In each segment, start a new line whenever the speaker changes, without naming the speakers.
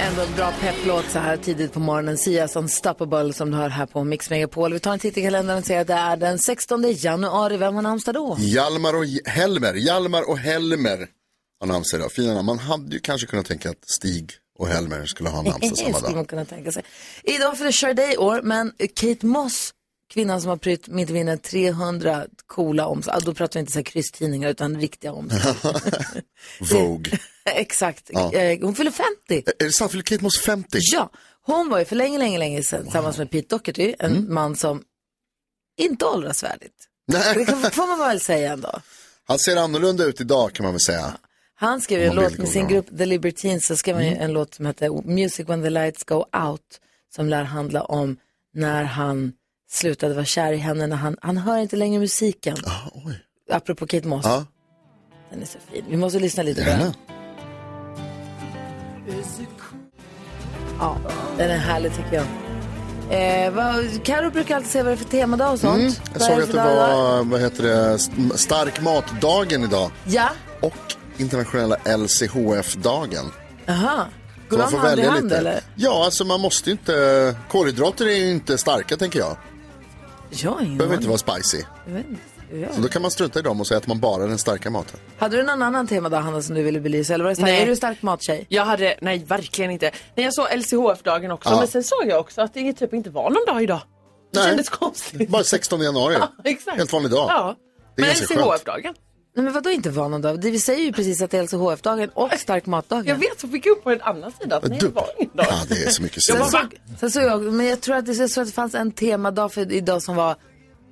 Ändå en bra pepplåt så här tidigt på morgonen. Sias Unstoppable som du hör här på Mix Megapol. Vi tar en titt i kalendern och ser att det är den 16 januari. Vem har namnsdag då?
Hjalmar och Helmer, Hjalmar och Helmer har namnsdag idag. Fina namn. Man hade ju kanske kunnat tänka att Stig och Helmer skulle ha namnsdag samma
skulle man
dag.
kunna tänka sig. Idag för det kör dig i år, men Kate Moss, kvinnan som har prytt Midtvinner 300 coola omslag. Ah, Då pratar vi inte så här krysstidningar utan riktiga omslag.
Vogue. eh,
Exakt.
Ja.
Eh, Hon fyller 50.
Är det sant? Fyller Kate Moss 50?
Ja, hon var ju för länge, länge, länge sedan tillsammans med Pete Doherty, en man som inte åldras värdigt. Det
Mm. Nej.
kan, får man väl säga ändå.
Han ser annorlunda ut idag kan man väl säga.
Han skrev ju en
Man
låt
vill
med
gå
sin
bra. Mm.
grupp The Libertines, så skrev han ju en låt som heter Music When the Lights Go Out, som lär handla om när han slutade vara kär i henne, när han, han hör inte längre musiken,
Ah, oj.
apropå Kate Moss.
Ja,
Den är så fin. Vi måste lyssna lite på den.
gärna.
Ja, den är härlig tycker jag. Eh, vad, Karo brukar alltid säga vad det är för temadag och sånt.
Mm.
Vad
Jag
är
såg
för
att det
dag idag?
var, vad heter det, st- stark matdagen idag.
Ja,
Och internationella LCHF-dagen.
aha. Går
Så
de
man får
hand i
välja
hand
lite.
eller?
Ja, alltså man måste ju inte, kolhydrater är ju inte starka tänker jag.
Ja, ingen
Behöver
aning.
inte vara spicy.
Jag vet inte. Ja.
Så då kan man strunta i dem och säga att man bara den starka maten.
Hade du någon annan temadag Hanna som du ville belysa? Eller var Alltså, det stark?
Nej.
Är du stark mattjej?
Jag hade, nej verkligen inte. Nej jag såg LCHF-dagen också
Ja.
men sen såg jag också att det typ inte var någon dag idag. Det
Nej.
kändes konstigt.
Bara 16 januari.
Exakt.
Helt vanlig dag.
Ja.
Det är
Men
ganska skönt.
LCHF-dagen.
Nej men vadå inte van någon dag? Det- Vi säger ju precis att det är LCHF-dagen och stark matdagen.
Äh, Jag vet så fick jag upp på en annan sida att nej det
Dubb.
var ingen dag.
Ja, det är så mycket
Jag
synd.
bara,
Sen såg jag, men jag tror att det, jag tror att det fanns en temadag för idag som var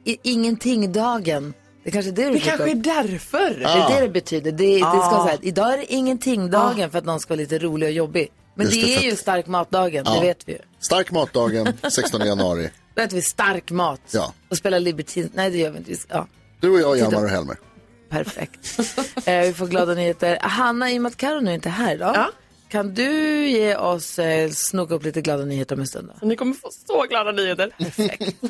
i- ingenting-dagen. Det kanske är det du
det
fick
kanske är
upp.
därför. Ah.
Det
Ah.
är det det betyder. Det, det ska vara så här, idag är det ingenting-dagen för att någon ska vara lite rolig och jobbig. Men
Just
det,
det,
är
för
ju
att- Ah.
stark matdagen, det
Ja.
vet vi ju.
Stark matdagen 16 januari.
Då äter vi stark mat
Ja.
och spelar Libertine. Nej, det gör vi inte. Vi ska- Ja.
Du och jag, Hjalmar och Helmer.
Perfekt. eh, vi får glada nyheter. Hanna, i och med att Karo nu inte är här idag,
Ja.
kan du ge oss, eh, snoka upp lite glada nyheter om en stund? Då?
Ni kommer få så glada nyheter. Perfekt.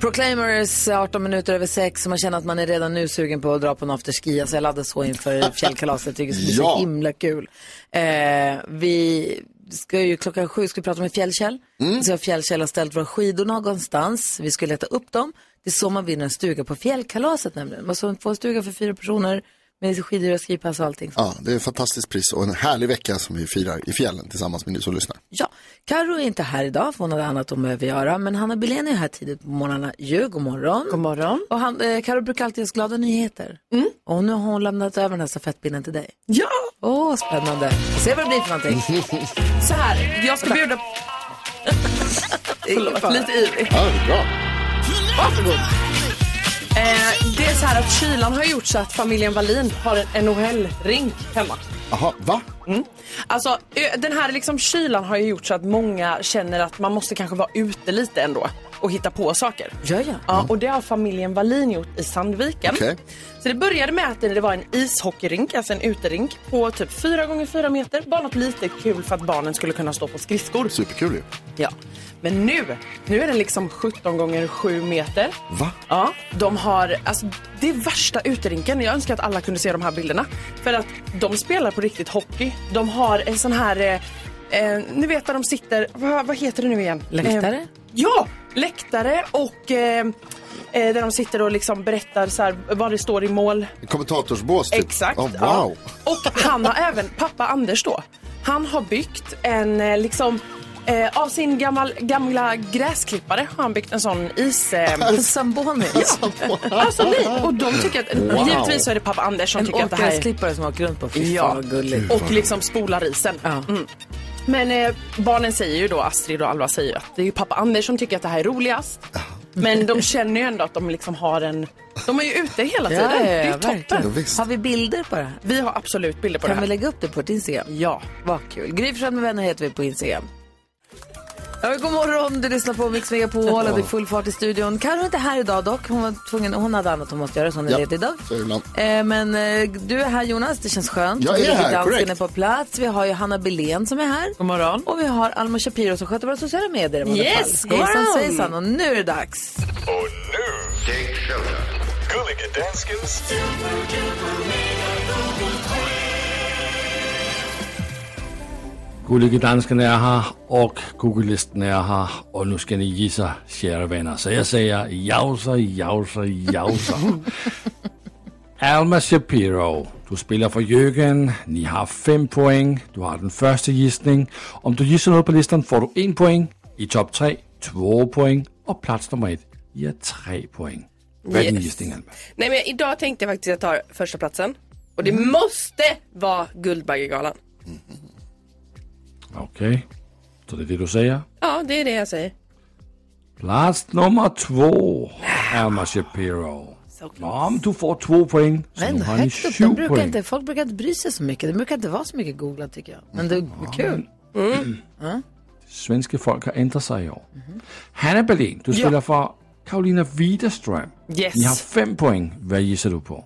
Proclaimers, 18 minuter över 6, man känner att man är redan nu sugen på att dra på en afterski. Alltså jag laddade så inför fjällkalaset, jag tycker det ska bli
Ja.
så himla kul. Eh, vi ska ju klockan sju ska vi prata med Fjällkäll. Så har Fjällkäll har ställt våra skidor någonstans, vi ska leta upp dem. Det är så man vinner en stuga på fjällkalaset nämligen. Man så- får en stuga för fyra personer med skidor och skipass och allting.
Ja, det är ett fantastiskt pris och en härlig vecka som vi firar i fjällen tillsammans med ni som lyssnar.
Ja, Karo är inte här idag för hon hade annat hon behöver göra. Men Hanna Billén är här tidigt på morgnarna. ju, god morgon.
God morgon. Mm.
Och han, eh, Karo brukar alltid ge oss glada nyheter. Och nu har hon lämnat över den här stafettpinnen till dig.
Ja!
Åh, spännande. Se vad det blir för någonting.
Så här, jag ska bjuda Förlåt, lite ivrig.
Ja, det är bra.
Eh, det är så här att kylan har gjort så att familjen Wallin har en NHL-rink hemma.
Jaha, va?
Alltså, ö- den här liksom kylan har ju gjort så att många känner att man måste kanske vara ute lite ändå och hitta på saker.
Ja, ja.
Ja, och det har familjen Wallin gjort i Sandviken.
Okej.
Så det började med att det var en ishockeyrink, alltså en uterink på typ 4 gånger 4 meter. Bara något lite kul för att barnen skulle kunna stå på skridskor.
Superkul ju.
Ja. Men nu, nu är den liksom 17 gånger 7 meter.
Va?
Ja, de har, alltså det är värsta uterinken. Jag önskar att alla kunde se de här bilderna. För att de spelar på riktigt hockey. De har en sån här, eh, eh, ni vet där de sitter, vad, vad heter det nu igen?
Läktare?
Eh, ja, läktare och eh, eh, där de sitter och liksom berättar så här, vad det står i mål.
En kommentatorsbås typ.
Exakt.
Ja,
ja.
wow.
Och han har även, pappa Anders då, han har byggt en eh, liksom Eh, av sin gammal, gamla gräsklippare har han byggt en sån is... Eh,
Samboni.
Alltså nej, och de tycker att,
Wow.
givetvis så är det pappa Anders som
En
tycker att det här är...
åkgräsklippare som åker runt på. Fy
Ja.
fan vad gulligt.
Och liksom spolar isen.
Ja.
Mm. Men eh, barnen säger ju då, Astrid och Alva säger ju att det är ju pappa Anders som tycker att det här är roligast. Men de känner ju ändå att de liksom har en... De är ju ute hela tiden. det är ju toppen.
Ja, visst.
Har vi bilder på det här?
Vi har absolut bilder på
Kan
det
vi
här.
lägga upp det på ett Instagram?
Ja. Mm-hmm.
Vad kul. Gry Forssell med vänner heter vi på Instagram. Ja, men god morgon, du lyssnar på Mix Megapol och det är full fart i studion. Karo är inte här idag dock, hon, var tvungen, hon hade annat hon måste göra så hon är
Ja,
ledig idag.
så är det ibland.
Eh, men eh, du är här Jonas, det känns skönt.
Jag är
Ulrika
här,
Dansken
korrekt.
är på plats, vi har ju Hanna Belén som är här. God morgon. Och vi har Alma Shapiro som sköter våra sociala medier i alla
Yes,
fall.
god
Hejsan
morgon.
svejsan och nu är det dags.
Och nu, Dick Showtime. Gullige Danskens
Gullige dansken är här och Google-listen är här och nu ska ni gissa, kära vänner. Så jag säger jausa, jausa, jausa. Alma Shapiro, du spelar för Jürgen. Ni har fem poäng. Du har den första gissning. Om du gissar något på listan får du en poäng. I topp tre, två poäng. Och plats nummer ett ger tre poäng. Vad är din
Yes.
gissning, Alma?
Nej men idag tänkte jag faktiskt att jag tar första platsen. Och det måste vara Guldbaggegalan.
Okej, så det är det du säger.
Ja, det är det jag säger.
Plats nummer två, Alma Shapiro. Ja, men du får två poäng. Så
Men
nu har ni
högt upp, de
sju
brukar
poäng.
inte, folk brukar inte bry sig så mycket. Det brukar inte vara så mycket googlat tycker jag. Men det är kul.
Mm.
Svenska folk har ändrat sig i år. Hanna Berlin, du spelar för Karolina Widerström.
Yes.
Ni har fem poäng. Vad gissar du på?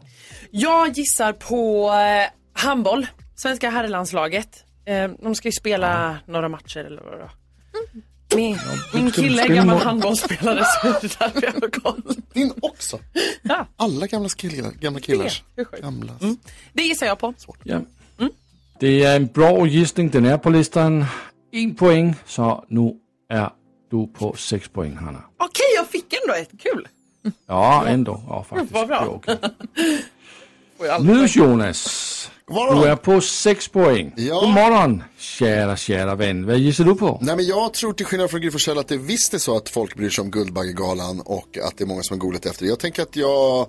Jag gissar på eh, handboll. Svenska herrlandslaget. Eh, de ska ju spela några matcher eller vad det var. Min, min kille är
ska ni
gammal
må-
handbollsspelare så det är därför jag har koll.
Din också.
Ja.
Alla gamla killar. Gamla killars.
Det är sjukt.
Gamla.
Mm. Det gissar jag på.
Ja. Det är en bra gissning. Den är på listan. En poäng, så nu är du på sex poäng, Hanna.
Okej, jag fick ändå ett. Kul!
Ja, ändå. Ja, faktiskt.
Vad bra.
Det är okej. Nu Jonas. Du är på sex poäng.
Ja.
God morgon, kära, kära vän. Vad gissar du på?
Nej men jag tror till skillnad från Gry Forssell att det visst är så att folk bryr sig om Guldbaggegalan och att det är många som har googlat efter det. Jag tänker att jag,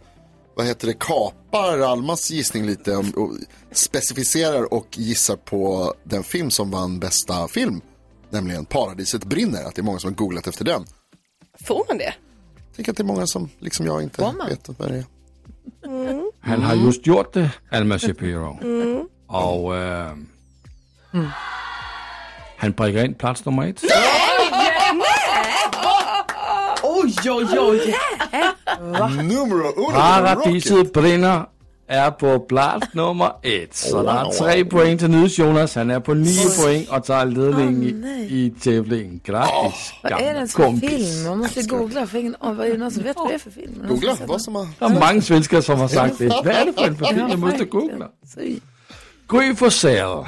vad heter det, kapar Almas gissning lite om- och specificerar och gissar på den film som vann bästa film. Nämligen Paradiset brinner, att det är många som har googlat efter den.
Får man det?
Jag tänker att det är många som, liksom jag, inte
man?
vet vad det är.
Han har just gjort det, Mm. Alma Shapiro. Och eh, han prickar in plats nummer ett.
Oj, oj, oj!
Numero uno!
Paradiset brinner är på plats nummer ett. Så det är tre poäng till Nils Jonas. Han är på nio poäng och tar ledningen i, i tävlingen. Grattis,
Vad är det
gamla
ens för
kompis.
film? Man måste ju googla. För ingen, oh, vad är det någon som vet vad det är för film? Någon som
Googla,
sett
vad som har...
Der er mange svenskere, som har sagt det. Hvad er det for en film, jeg måste google?
den? Så-
Gry for Særet har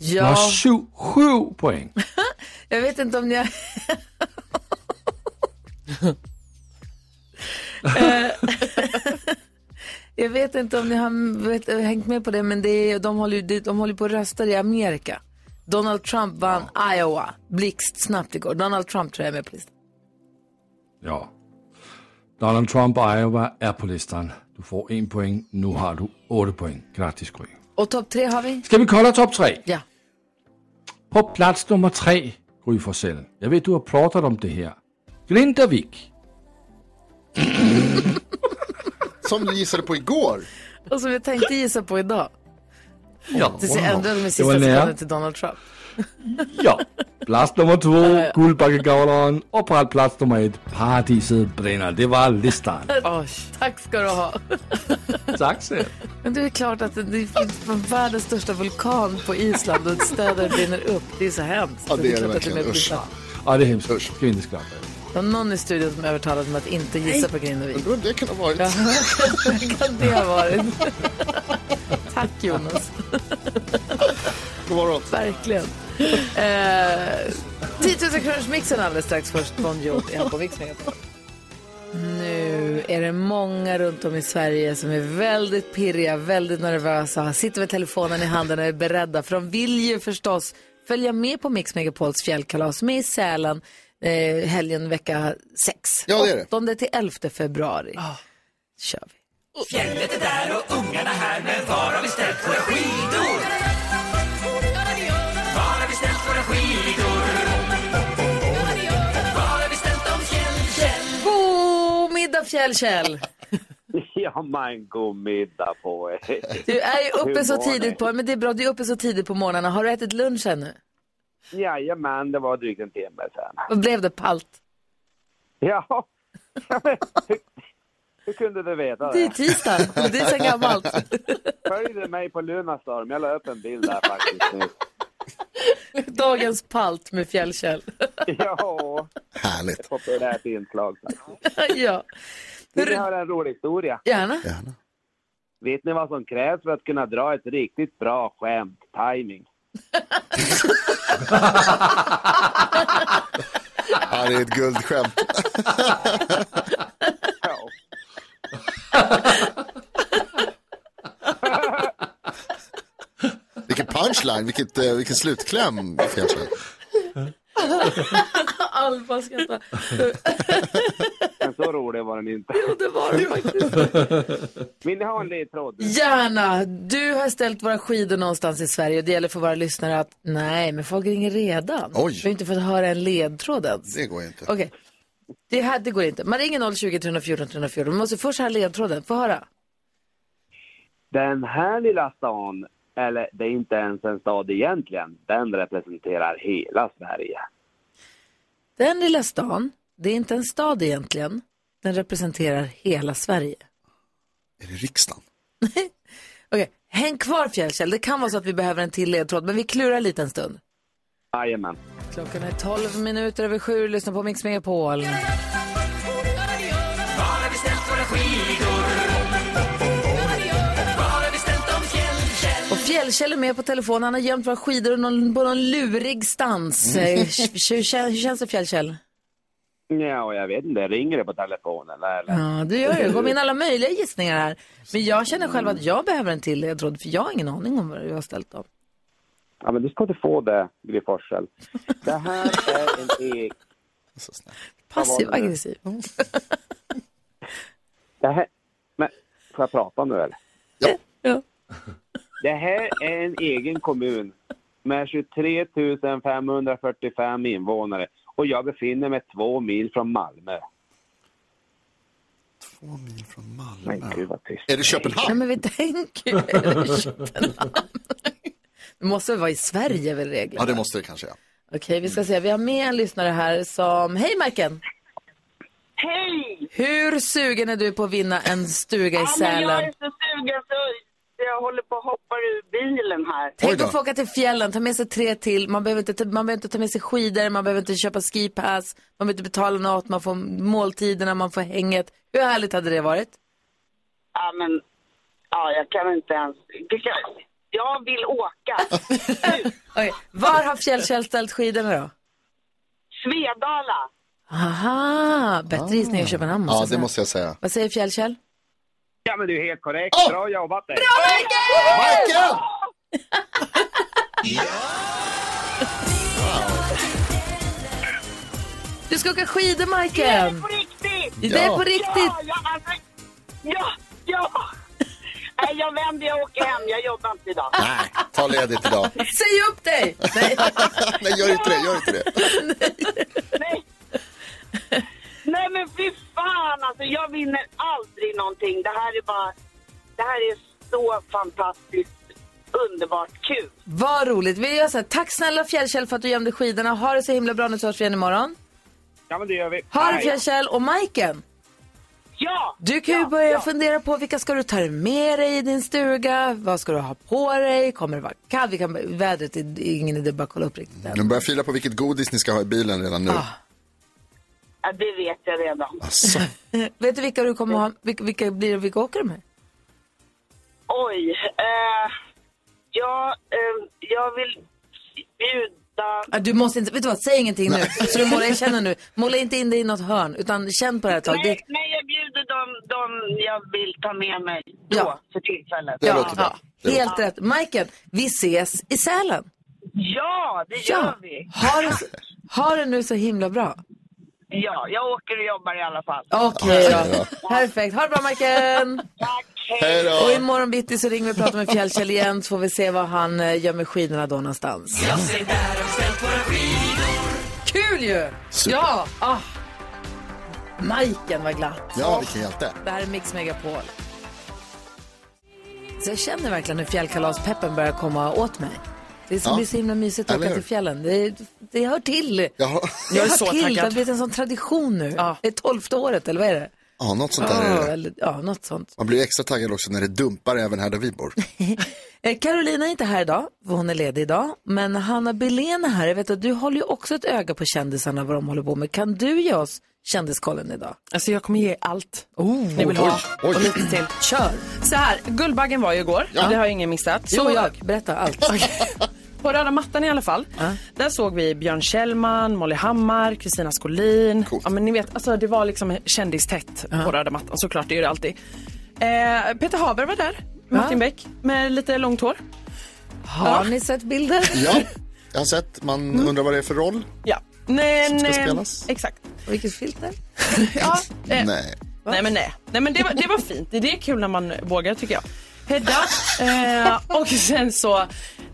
Ja,
syv, syv point.
jag vet inte om ni har... Eh, jag vet inte om ni har vet, hängt med på det, men det är, de håller ju det- de håller på att rösta i Amerika. Donald Trump vann Iowa blixtsnabbt igår. Donald Trump tror jag är med på listan.
Ja. Donald Trump og Iowa er på listan. Du får en point. Nu har du otte point. Gratis, Gry.
Och topp tre har vi?
Skal vi kolde top 3?
Ja.
På plats nummer tre, Gry Forssell. Jeg ved, du har plottet om det her. Grindavik.
Som du gissade på igår.
Och som jag tänkte gissa på idag.
Ja,
Tills jag ändrade mig
Det var
sista
nära.
sekunden till Donald Trump.
Ja. Plads nummer två, Guldbakkegavleren. Og på plads nummer et, Paradiset brænder. Det var listan.
Oj.
Tack ska du ha.
tak selv.
Men det är klart att det finns världens största vulkan på Island och städer brinner upp. Det är så hemskt.
Ja, det är det
klart att
verkligen.
med på
Usch.
listan.
Og det er hemskt. Skal vi ikke skrabe af det?
Det var någon i studion som övertalade mig att inte gissa på Grindavik.
Undrar om det kan ha varit.
Kan det ha varit? Tack Jonas,
God morgon.
verkligen. Eh, 10 000 kronors mixen alldeles strax först. Bon Jovi här på Mix Megapol. Nu är det många runt om i Sverige som är väldigt pirriga, väldigt nervösa, sitter med telefonen i handen och är beredda. För de vill ju förstås följa med på Mix Megapols fjällkalas med i Sälen eh, helgen vecka 6.
Ja, det är det.
8 till 11 februari. kör vi. God middag Fjällkäll!
Ja, men god middag på er.
Du är ju uppe
Hur
så
mår
tidigt
ni?
på, men det är bra, du är uppe så tidigt på morgnarna. Har du ätit lunch ännu?
Jajamän, det var drygt en timme sedan.
Och blev det palt?
Ja, Ja, men hur, hur kunde du veta
Det är
det?
tisdag, det är så gammalt.
Följde mig på Lunarstorm, jag la upp en bild där faktiskt nu.
Dagens palt med Fjällkäll.
Ja,
Härligt.
populärt inslag faktiskt.
ja,
Vi har en rolig historia.
gärna.
Gärna.
Vet ni vad som krävs för att kunna dra ett riktigt bra skämt? Timing.
Ja, det är ett guldskämt.
Ja.
Vilken punchline, vilket, eh, vilken slutkläm. Fjällkäll.
Alva skrattar.
Men så rolig var den inte.
Jo, det var det faktiskt.
Vill ni ha en ledtråd?
Gärna. Du har ställt våra skidor någonstans i Sverige och det gäller för våra lyssnare att nej, men folk ringer redan.
Oj.
Vi har inte fått höra en ledtråd ens.
Det går ju inte.
Okej, det här det går inte. Man ringer 020 314 314. Man måste först höra ledtråden. Få höra.
Den här lilla stan, eller det är inte ens en stad egentligen, den representerar hela Sverige.
Den lilla stan, det är inte en stad egentligen. Den representerar hela Sverige.
Är det riksdagen?
Okej, häng kvar Fjällkäll. Det kan vara så att vi behöver en till ledtråd, men vi klurar lite en stund.
Jajamän.
Klockan är 12 minuter över sju. Lyssna på Mix Megapol. Och Fjällkäll är med på telefon. Han har gömt våra skidor och någon, på någon lurig stans.
Mm.
Eh, Hur, hur, kän- hur känns det Fjällkäll?
Ja, och jag vet inte, ringer det på telefonen eller?
Ja, du gör ju. Kom in alla möjliga gissningar här. Men jag känner själv att jag behöver en till ledtråd för jag har ingen aning om vad du har ställt dem.
Ja, men du ska inte få det, Gry Forssell. Det här är en ek.
Så snällt.
Passiv aggressiv.
Det här... Men, får jag prata nu eller?
Ja.
Det här är en egen kommun med 23 545 invånare och jag befinner mig två mil från Malmö.
Två mil från
Men
Malmö.
gud vad tyst.
Är det Köpenhamn?
Nej, men vi tänker ju Köpenhamn. Det måste väl vara i Sverige väl
Ja,
reglerna?
det måste det kanske. Ja.
Okej, vi ska se. Vi har med en lyssnare här som... Hej Marken!
Hej!
Hur sugen är du på att vinna en stuga i
Ja, men jag
Sälen?
är så sugen så jag håller på att hoppa ur bilen här.
Tänk
då.
att få åka till fjällen, ta med sig tre till. Man behöver, inte, ta- man behöver inte ta med sig skidor, man behöver inte köpa skipass, man behöver inte betala något, man får måltiderna, man får hänget. Hur härligt hade det varit?
Ja, men ja, jag kan inte ens... Jag vill åka. Nu,
Okej, Var har Fjällkäll ställt skidorna då?
Svedala.
Aha, bättre gissning än Köpenhamn måste
Ah. ja,
jag
det
säga.
måste jag säga.
Vad säger Fjällkäll?
Ja, men du är helt korrekt. Bra jobbat dig.
Michael!
Du ska åka skidor,
Det är
Majken!
på riktigt!
Det är på
Ja,
riktigt!
jag, alltså, ja, ja. Nej, jag vänder, jag åker hem. Jag jobbar inte idag.
Nej, ta ledigt idag.
Säg upp dig! Nej.
Nej, gör inte det. Gör inte det.
Nej. Nej men fy fan alltså, jag vinner aldrig någonting. Det här är bara, det här är så fantastiskt underbart kul.
Vad roligt. Vi gör så här. Tack snälla Fjällkäll för att du gömde skidorna. Ha det så himla bra nu så hörs vi igen imorgon.
Ja, men det gör vi.
Ha det
Hej.
Fjällkäll och Majken.
Ja!
Du kan ju
ja,
börja
ja.
fundera på vilka ska du ta med dig i din stuga? Vad ska du ha på dig? Kommer det vara kallt? Vi kan, vädret är det är ingen idé, bara kolla upp riktigt än.
Nu börjar jag fila på vilket godis ni ska ha i bilen redan
Ah.
nu.
ja, det vet jag redan.
Alltså,
Vet du vilka du kommer ha? Vilka, vilka blir det? Vilka åker du med?
Oj. Eh, jag, eh, jag vill bjuda...
Ah, Du måste inte, vet du vad, säg ingenting nu. Så du målar, jag känner nu. Måla inte in dig i något hörn, utan känn på det här ett tag.
Nej, nej, jag bjuder dem, dem jag vill ta med mig då,
Ja.
för tillfället.
det låter bra.
Det, helt rätt. Majken, vi ses i Sälen.
Ja, det
Ja,
gör vi.
ha det, ha det nu så himla bra.
Ja, jag åker och jobbar i alla fall.
Okej då. Perfekt. Ha det bra, Majken.
Tack, hej.
Hej
Och
då!
imorgon bitti så ringer vi och pratar med Fjällkäll igen så får vi se var han eh, gömmer skidorna då någonstans. Kul ju!
Super.
Ja! Ah. Majken var glatt.
Ja, vilken hjälte.
Det här är Mix Megapol. Så jag känner verkligen hur fjällkalaspeppen börjar komma åt mig. Det ska
Ja.
bli så himla mysigt att
Eller
åka
hur?
till fjällen. Det, det hör till.
Ja,
Det
Jag är
hör
så
till. Det har
taggad.
blivit en sån tradition nu. Det är tolfte året, eller vad är det?
ja något sånt där
Ja,
är det.
eller, ja, något sånt.
Man blir extra taggad också när det dumpar även här där vi bor.
Eh, Carolina är inte här idag, för hon är ledig idag. Men Hanna Billén är här. Jag vet att du håller ju också ett öga på kändisarna, vad de håller på med. Kan du ge oss kändiskollen idag? Oh.
Alltså jag kommer ge allt ni vill ha.
oj.
Och lite till.
Kör!
Så här, Guldbaggen var ju igår. Det har ju ingen missat.
Jo,
Så
jag. Berätta allt.
På röda mattan i alla fall. Där såg vi Björn Kjellman, Molly Hammar, Kristina Skolin. Ja, men ni vet, alltså, det var liksom kändistätt på röda mattan. Såklart, det är det alltid. Eh, Peter Haber var där. Martin Beck med lite långt hår.
Har ni sett bilder?
Ja, jag har sett. Man
Mm.
undrar vad det är för roll.
Eh.
Ja. Men,
Som ska
eh,
spelas.
Exakt.
Och Vilket filter?
Ja, eh,
Nej.
Nej men nej. nej men det, var, det var fint. Det är kul när man vågar tycker jag. Hedda. Eh, och sen så.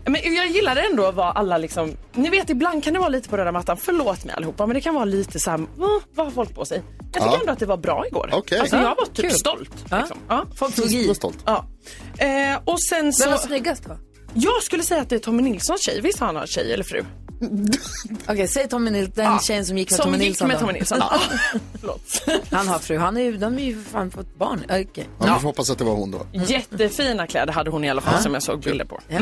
Men jag gillar ändå vad alla liksom. Ni vet ibland kan det vara lite på röda mattan. Förlåt mig allihopa men det kan vara lite så här. "Va? Vad har folk på sig? Jag tycker
Ja.
ändå att det var bra igår.
Okej.
Alltså jag
Ja,
var typ
kul.
stolt.
Ja.
Liksom. Ja.
Folk tog
Jag är
i.
stolt.
Ja. Eh, och sen
Vem var
så.
snyggast då?
Jag skulle säga att det är Tommy Nilssons tjej. Visst har han en tjej eller fru?
Okej, säg Tommy Nil- den tjejen som gick med
Som
Tommy
gick
Nilsson.
med
då.
Tommy Nilsson. Ja. Förlåt.
Han har fru. Han är ju, de är ju för fan fått barn. Eh,
Mm.
mm. Okej.
Ja, vi får hoppas att det var hon då.
Jättefina kläder hade hon i alla fall som jag såg bilder på.
Ja.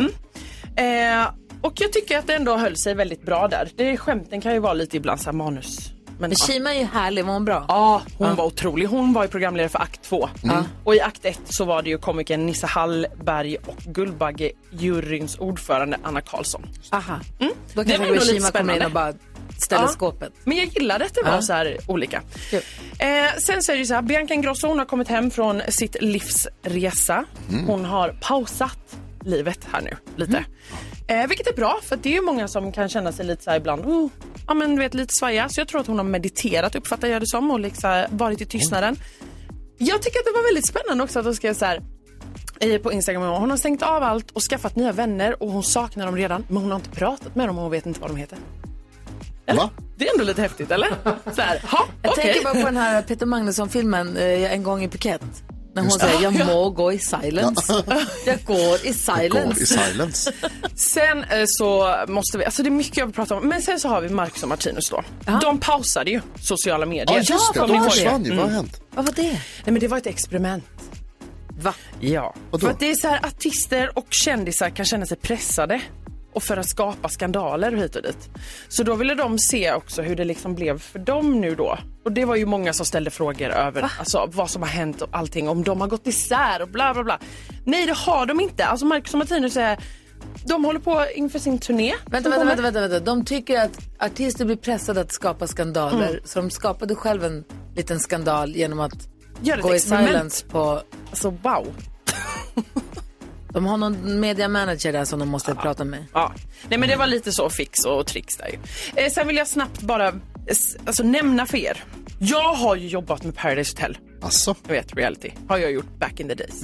Mm. Eh, och jag tycker att det ändå höll sig väldigt bra där. Det, skämten kan ju vara lite ibland så här manus. Men,
Men
ja.
Shima är ju härlig, var hon bra?
Ja, hon var otrolig. Hon var ju programledare för akt 2. Och i akt 1 så var det ju komikern Nisse Hallberg och Guldbagge juryns ordförande Anna Karlsson.
Aha. Ah, Då
Mm. Det
kanske
var
Gwen
ändå lite
Shima kommer in
spännande.
och bara ställer
Ja.
skåpet.
Men jag gillade att det var
Ja.
så här olika.
Kul.
Eh, sen så är det ju så här, Bianca Ingrosso hon har kommit hem från sitt livsresa. Hon har pausat livet här nu lite. Eh, vilket är bra för att det är ju många som kan känna sig lite så här ibland, oh, ja men du vet lite svaja. Så jag tror att hon har mediterat uppfattar jag det som och liksom varit i tystnaden. Jag tycker att det var väldigt spännande också att hon skrev så här eh, på Instagram. Hon har stängt av allt och skaffat nya vänner och hon saknar dem redan men hon har inte pratat med dem och hon vet inte vad de heter.
Va?
Det är ändå lite häftigt, eller? Så här, ha,
Jag
okej.
tänker bara på den här Peter Magnusson-filmen, eh, En gång i Phuket. När hon säger, jag må gå i silence. jag går i
Går i
silence.
silence.
Sen eh, så måste vi, alltså det är mycket jag vill prata om, men sen så har vi Marcus och Martinus då. De pausade ju sociala medier.
Ja, just det.
Kommer ni
De
ihåg
försvann ju. Vad har hänt?
Vad var det?
Mm. Nej men det var ett experiment.
Va?
Ja.
Vadå?
För att det är så här artister och kändisar kan känna sig pressade och för att skapa skandaler hit och dit. Så då ville de se också hur det liksom blev för dem nu då. Och det var ju många som ställde frågor över alltså, vad som har hänt och allting, om de har gått isär och bla bla bla. Nej det har de inte. Alltså Marcus och Martinus är, de håller på inför sin turné.
Vänta,
som
vänta,
kommer.
vänta, vänta, vänta. De tycker att artister blir pressade att skapa skandaler.
Mm.
Så de skapade själv en liten skandal genom att
Gör ett
gå i
experiment.
silence på...
Alltså wow.
De har någon media manager där som de
Ah.
måste prata med.
Ja. Nej, men det var lite så fix och tricks där ju. Eh, sen vill jag snabbt bara eh, s- alltså, nämna för er. Jag har ju jobbat med Paradise Hotel.
Alltså, Mhm.
Jag vet, reality. Har jag gjort back in the days.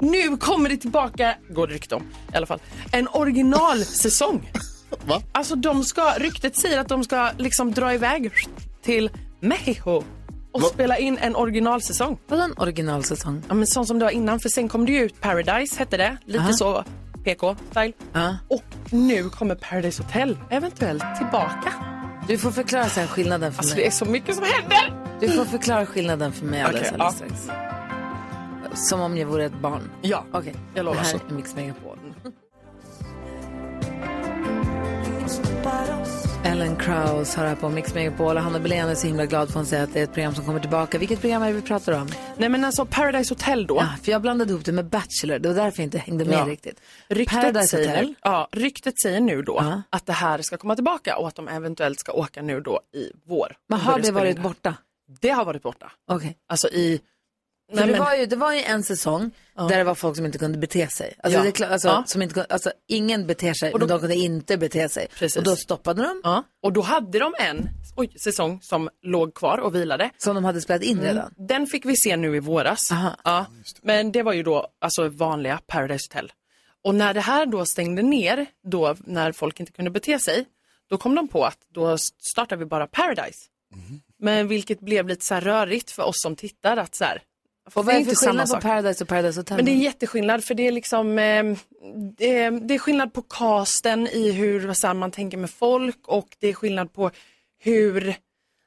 Nu kommer det tillbaka, går det rykte om i alla fall, en originalsäsong.
Va?
Alltså de ska, ryktet säger att de ska liksom dra iväg till Mexiko och
Va?
spela in en originalsäsong.
Vadå en originalsäsong?
Ja, men sånt som det var innan. För sen kom det ju ut Paradise, hette det. Lite
Ja.
så PK-style.
Ja.
Och nu kommer Paradise Hotel eventuellt tillbaka.
Du får förklara sen skillnaden för
Alltså det
mig.
är så mycket som händer!
Du får förklara skillnaden för mig alldeles,
Okej, ah.
alldeles strax. Som om jag vore ett barn.
Ja,
Okej,
jag lovar. alltså.
det här
Så.
är Mix Megapol. Ellen Kraus har här på Mix Megapol och Hanna Belén är så himla glad för hon säger att det är ett program som kommer tillbaka. Vilket program är det vi pratar om?
Nej men alltså Paradise Hotel då.
Ja, för jag blandade ihop det med Bachelor, det var därför jag inte hängde med
Ja.
riktigt.
Ryktet,
Paradise
säger
Hotel.
nu, ja, ryktet säger nu då
Ja.
att det här ska komma tillbaka och att de eventuellt ska åka nu då i vår.
Men har
Börja
det
spela in
varit
här.
borta?
Det har varit borta.
Okej.
Alltså i...
För
Nej,
det,
men,
var ju, det var ju en säsong där det var folk som inte kunde bete sig. Alltså,
Ja.
det är klart, alltså,
Ja.
som inte, kunde- alltså ingen beter sig, men de kunde inte bete sig.
Precis.
Och då stoppade de,
ja. Och då hade de en oj, säsong som låg kvar och vilade. Mm.
som de hade spelat in redan.
Den fick vi se nu i våras.
Aha.
Ja, men det var ju då alltså vanliga Paradise Hotel. Och när det här då stängde ner, då när folk inte kunde bete sig, då kom de på att då startar vi bara Paradise. Men vilket blev lite så här rörigt för oss som tittar att så här,
Och vad är det för
inte samma
skillnad på
sak.
Paradise och Paradise Hotel?
Men det är jätteskillnad för det är liksom eh, det, är, det är skillnad på casten i hur vad säger man tänker med folk och det är skillnad på hur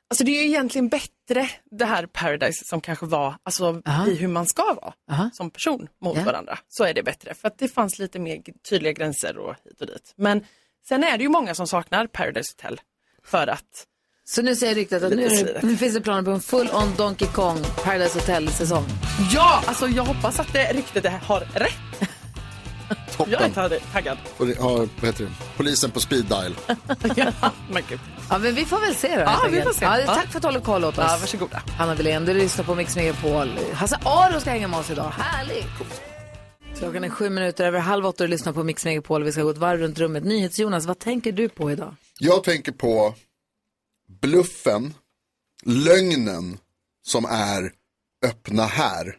Alltså det är ju egentligen bättre det här Paradise som kanske var alltså, i hur man ska vara som person mot
Ja.
varandra. Så är det bättre för att det fanns lite mer g- tydliga gränser och hit och dit. Men sen är det ju många som saknar Paradise Hotel för att
Så nu säger ryktet att nu, är det- nu finns det planer på en full-on Donkey Kong Paradise Hotel-säsong.
ja, alltså jag hoppas att det ryktet har rätt. Jag är
Toppen.
tagg- taggad.
Och det- Ja, vad heter det? Polisen på speed dial.
Ja, men gud.
Ja, men vi får väl se då. helt
Ja, vi
enkelt.
får se.
Ja,
Ja.
tack för att du håller koll åt oss.
Ja, varsågoda.
Hanna Wilén, du lyssnar på Mix Megapol. Hasse Aro ska hänga med oss idag. Härligt! Klockan är sju minuter över halv åtta och du lyssnar på Mix Megapol. Vi ska gå ett varv runt rummet. NyhetsJonas, vad tänker du på idag?
Jag tänker på bluffen, lögnen som är öppna här.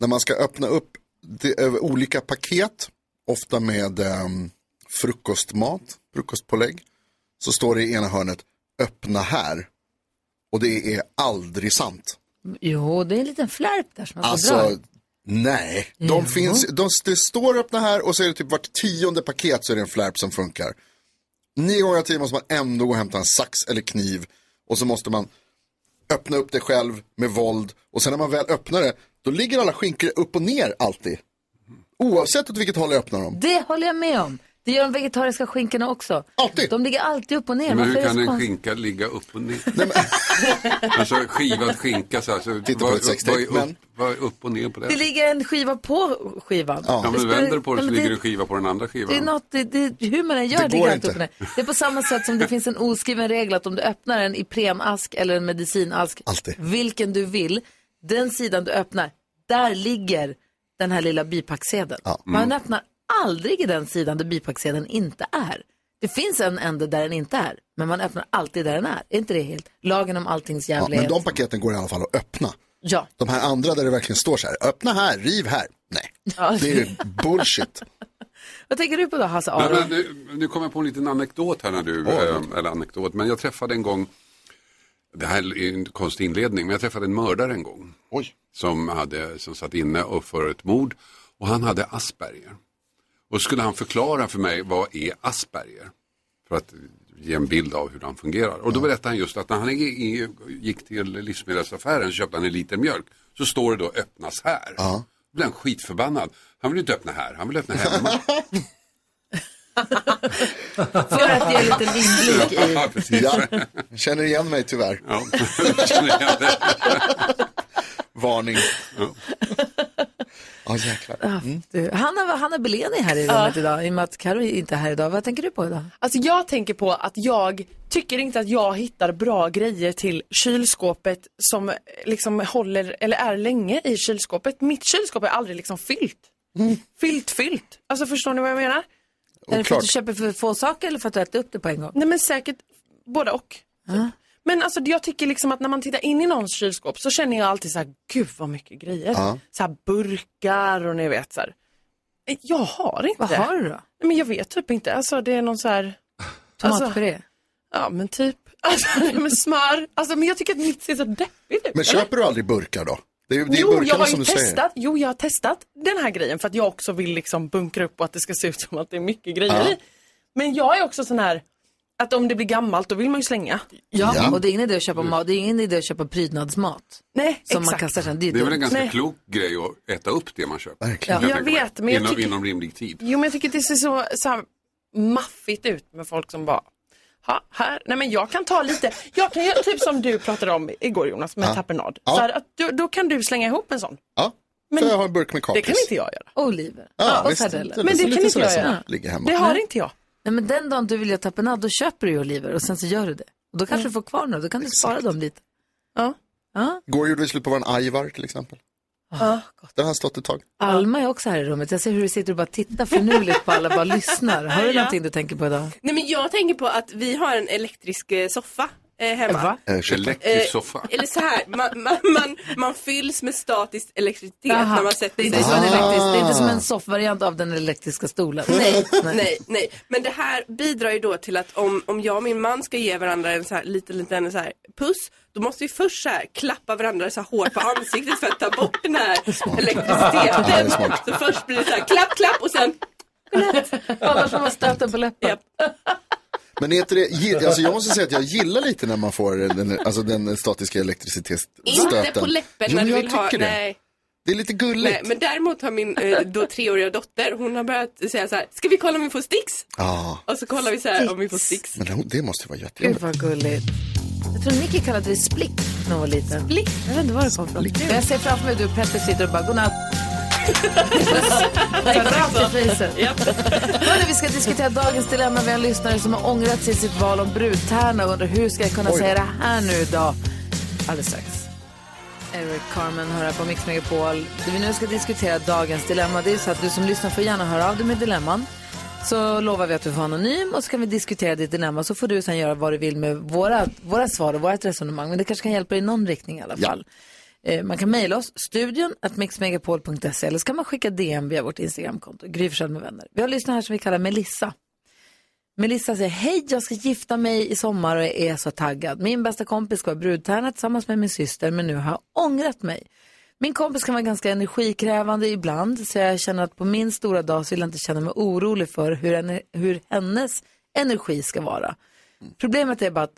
När man ska öppna upp det, ö, olika paket, ofta med ehm, frukostmat, frukostpålägg, så står det i ena hörnet öppna här. Och det är aldrig sant.
Jo, det är en liten flärp där som man får dra.
Alltså, nej. De finns, de, det står öppna här och så är det typ vart tionde paket så är det en flärp som funkar. Nio gånger av tio måste man ändå gå och hämta en sax eller kniv och så måste man öppna upp det själv med våld och sen när man väl öppnar det då ligger alla skinkor upp och ner alltid. Oavsett åt vilket håll jag öppnar dem.
Det håller jag med om. Det gör de vegetariska skinkorna också.
Alltid.
De ligger alltid upp och ner.
Men
Varför
hur
är det
kan
så
en
konstigt?
skinka ligga upp och ner? alltså skivad skinka så här. Så
Titta på
vad-
ett sextape,
vad är upp-
men-
Vad är upp och ner på det?
Det ligger en skiva på skivan.
Ja, men
spelar-
vänder du på det
Ja,
så
men
ligger det en skiva på den andra skivan.
Det är något, det, det, hur man än gör
Det
det,
går
går
inte.
upp och ner. Det är på samma sätt som det finns en oskriven regel att om du öppnar en Ipren-ask eller en medicinask,
Alltid.
vilken du vill, den sidan du öppnar, där ligger den här lilla bipacksedeln.
Mm.
Man öppnar aldrig i den sidan där bipacksedeln inte är. Det finns en ände där den inte är, men man öppnar alltid där den är. Är inte det helt lagen om alltings
Ja, men
jävlighet?
de paketen går i alla fall att öppna.
Ja.
De här andra där det verkligen står så här, öppna här, riv här. Nej, det är bullshit.
Vad tänker du på då, Hasse
Nej,
Aro?
men nu, nu kom jag på en liten anekdot här när du, eh, eller anekdot, men jag träffade en gång, det här är en konstig inledning, men jag träffade en mördare en gång.
Oj.
Som, hade, som satt inne och för ett mord och han hade Asperger. Och skulle han förklara för mig vad är Asperger? För att ge en bild av hur han fungerar. Och då berättade han just att när han i- i- gick till livsmedelsaffären så köpte han en liter mjölk. Så står det då öppnas här. Då blev han skitförbannad. Han vill inte öppna här, han vill öppna hemma.
För att ge en liten inblick i...
Ja, precis.
Ja, känner igen mig tyvärr.
Ja, jag känner igen det.
Varning. Ja, jäklar.
Ah, Du, Hanna, Hanna Belén är här i rummet idag, i och med att Karo är inte är här idag. Vad tänker du på idag?
Alltså jag tänker på att jag tycker inte att jag hittar bra grejer till kylskåpet som eh, liksom håller eller är länge i kylskåpet. Mitt kylskåp är aldrig liksom fyllt. Fyllt, fyllt. Alltså förstår ni vad jag menar?
Mm. Är det för att
Oklart.
du köper för få saker eller för att du äter upp det på en gång?
Nej men säkert både och. typ. Men alltså jag tycker liksom att när man tittar in i någons kylskåp så känner jag alltid så här, gud vad mycket grejer. Så här burkar och ni vet så här. Eh, Jag har inte.
Vad har du då?
Nej, Men jag vet typ inte. Alltså det är någon så här. Alltså,
Tomatpuré?
Ja men typ. Alltså nej, men smör. Alltså men jag tycker att mitt ser så deppigt ut.
Men
eller?
köper du aldrig burkar då? Det är, ju- det är
jo, jag
burkarna
har
som
ju
du
testat. Jo, jag har testat den här grejen för att jag också vill liksom bunkra upp och att det ska se ut som att det är mycket grejer i. Men jag är också sån här att om det blir gammalt då vill man ju slänga.
Ja. Och det är ingen idé att
Mm.
köpa mat, det är ingen idé att köpa prydnadsmat
Nej,
som man
exakt.
kastar sen. Det är
Det är väl
dumt.
en ganska
Nej.
klok grej att äta upp det man köper.
Verkligen.
Kan
Ja, jag
tänka mig.
vet, men jag
inom,
tycker-
inom rimlig tid.
Jo, men jag tycker det ser så, så här maffigt ut med folk som bara ha, här. Nej men jag kan ta lite, jag kan göra typ som du pratade om igår Jonas med tapenad. Så här, att du, då kan du slänga ihop en sån.
Ja,
Men
så jag har en burk med kapris.
Det kan inte jag göra.
Oliver
Ja,
och
visst.
sardeller.
Typ
Men
så
det
lite
kan inte
sådär
jag
som
göra.
Ligger
Det
hemma. Mm.
har inte jag.
Nej men den dagen du vill göra tapenad då köper du ju oliver och sen så gör du det. Och då kanske du får kvar några, då kan du spara dem lite.
Mm. Ja.
Ja.
Går gjorde vi slut på våran Aivar till exempel. Den har stått ett tag.
Ah, Alma är också här i rummet. Jag ser hur du sitter och bara tittar finurligt på alla och bara lyssnar. Har du någonting du tänker på idag?
Nej men jag tänker på att vi har en elektrisk eh, soffa. Eh, eh, hemma.
Va? Elektrisk
Eh,
soffa.
Eller så här, man, man, man, man fylls med statisk elektricitet
Aha.
när man sätter
Det är
sig.
inte
Ah.
som en elektrisk, det är inte som en soffvariant av den elektriska stolen.
Nej, nej, nej. Men det här bidrar ju då till att om, om jag och min man ska ge varandra en så här liten, liten så här puss, då måste vi först så här klappa varandra så här hårt på ansiktet för att ta bort den här
Ja, det är
elektriciteten.
smart.
Så först blir det så här klapp, klapp och sen
Annars får man stöten på läppen.
Men heter det, gi- alltså jag måste säga att jag gillar lite när man får den, alltså den statiska elektricitetsstöten.
Inte på läppen när
Jo, men
du
jag
vill ha.
tycker det.
Nej.
Det är lite gulligt.
Nej, men däremot har min eh, då treåriga dotter, hon har börjat säga så här, ska vi kolla om vi får sticks?
Ja,
Och så kollar vi så här om vi får sticks.
men hon- det måste ju vara jättejobbigt.
Gud vad gulligt. Jag tror Nicky kallade det splick när hon var liten. Splick? Jag vet inte var det kom ifrån. Men Jag ser framför mig hur du och Petter sitter och bara godnatt. Rakt i fejset. Hörni, vi ska diskutera dagens dilemma. Vi har en lyssnare som har ångrat sig i sitt val om brudtärna och undrar hur ska jag kunna
Oj.
säga det här nu idag? Alldeles strax. Eric Carmen hör här på Mix Megapol. Det vi nu ska diskutera dagens dilemma, det är så att du som lyssnar får gärna höra av dig med dilemman. Så lovar vi att du får anonym och så kan vi diskutera ditt dilemma så får du sen göra vad du vill med våra, våra svar och vårt resonemang. Men det kanske kan hjälpa dig i någon riktning i alla fall. Eh, Man kan mejla oss, studion at mixmegapol.se eller så kan man skicka DM via vårt Instagramkonto, Gry Forssell med vänner. Vi har lyssnat här som vi kallar Melissa. Melissa säger, hej jag ska gifta mig i sommar och är så taggad. Min bästa kompis ska vara brudtärna tillsammans med min syster men nu har jag ångrat mig. Min kompis kan vara ganska energikrävande ibland så jag känner att på min stora dag så vill jag inte känna mig orolig för hur, ener- hur hennes energi ska vara. Problemet är bara att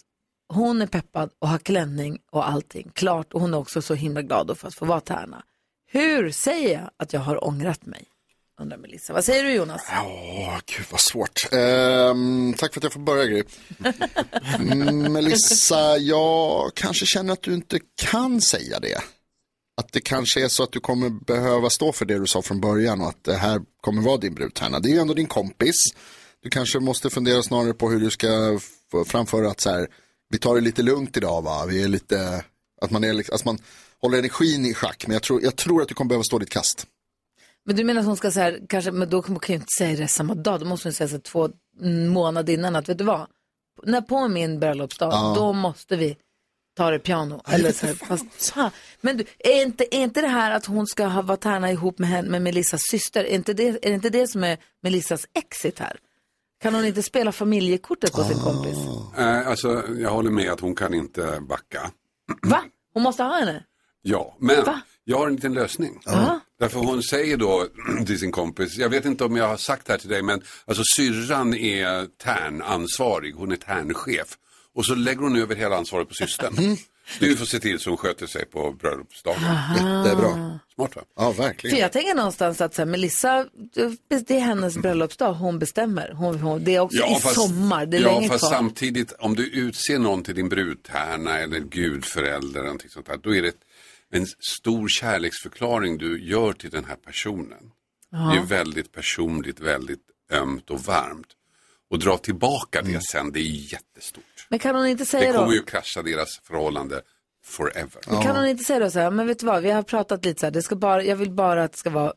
hon är peppad och har klänning och allting klart och hon är också så himla glad då för att få vara tärna. Hur säger jag att jag har ångrat mig? Undrar Melissa. Vad säger du Jonas?
Åh, gud vad svårt. Ehm, tack för att jag får börja Gry. Mm, Melissa, jag kanske känner att du inte kan säga det. Att det kanske är så att du kommer behöva stå för det du sa från början och att det här kommer vara din brudtärna. Det är ju ändå din kompis. Du kanske måste fundera snarare på hur du ska f- framföra att så här, vi tar det lite lugnt idag va, vi är lite, att man, är, liksom- att man håller energin i schack. Men jag tror, jag tror att du kommer behöva stå ditt kast.
Men du menar att hon ska säga, kanske, men då kan hon ju inte säga det samma dag, då måste hon säga så här två månader innan att vet du vad, när på min bröllopsdag,
Ja.
då måste vi ta det piano. Eller så här, fast, fan. Men du, är inte, är inte det här att hon ska ha varit tärna ihop med, henne, med Melissas syster, är, inte det, är det inte det som är Melissas exit här? Kan hon inte spela familjekortet på sin kompis?
Eh, alltså, jag håller med att hon kan inte backa.
Va? Hon måste ha henne?
Ja, men jag har en liten lösning. Därför hon säger då till sin kompis, jag vet inte om jag har sagt det här till dig, men alltså syrran är tärnansvarig, hon är tärnchef. Och så lägger hon över hela ansvaret på
Mm.
systern. Du får se till så hon sköter sig på bröllopsdagen.
Aha. Jättebra.
Smart va?
Ja,
För jag tänker någonstans att så här, Melissa, det är hennes bröllopsdag, hon bestämmer. Hon, hon, det är också i sommar, det är
Mm. ja,
länge
fast
kvar.
samtidigt om du utser någon till din brudtärna eller gudförälder eller någonting sånt där, då är det en stor kärleksförklaring du gör till den här personen.
Ja.
Det är väldigt personligt, väldigt ömt och varmt. Och dra tillbaka det sen, det är jättestort.
Men kan hon inte
Det
säga då?
kommer ju krascha deras förhållande forever.
Men Kan hon inte säga då så här, men vet du vad, vi har pratat lite så här, det ska bara, jag vill bara att det ska vara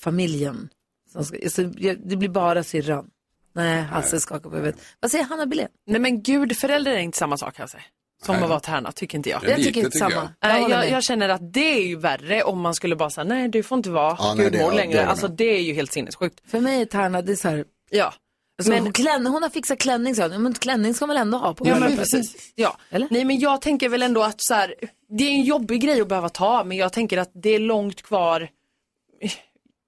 familjen. Som ska, så jag, det blir bara syrran. Nej, Hasse skakar på huvudet. Vad säger Hanna Billén?
Nej men gudförälder är inte samma sak alltså. Som
Nej.
att vara tärna, tycker inte jag.
Jag tycker inte samma.
Nej,
håller
jag,
med.
jag känner att det är ju värre om man skulle bara säga nej du får inte vara
Ja, nej, det-
gudmor
ja, det
längre.
håller jag
alltså
med.
det är ju helt sinnessjukt.
För mig är Tärna, det är så här,
Ja.
alltså,
Men-
hon, klän, hon har fixat klänning, så men klänning ska man väl ändå ha på
Ja men
bröllopet?
precis. Ja. Nej men jag tänker väl ändå att så här, det är en jobbig grej att behöva ta men jag tänker att det är långt kvar.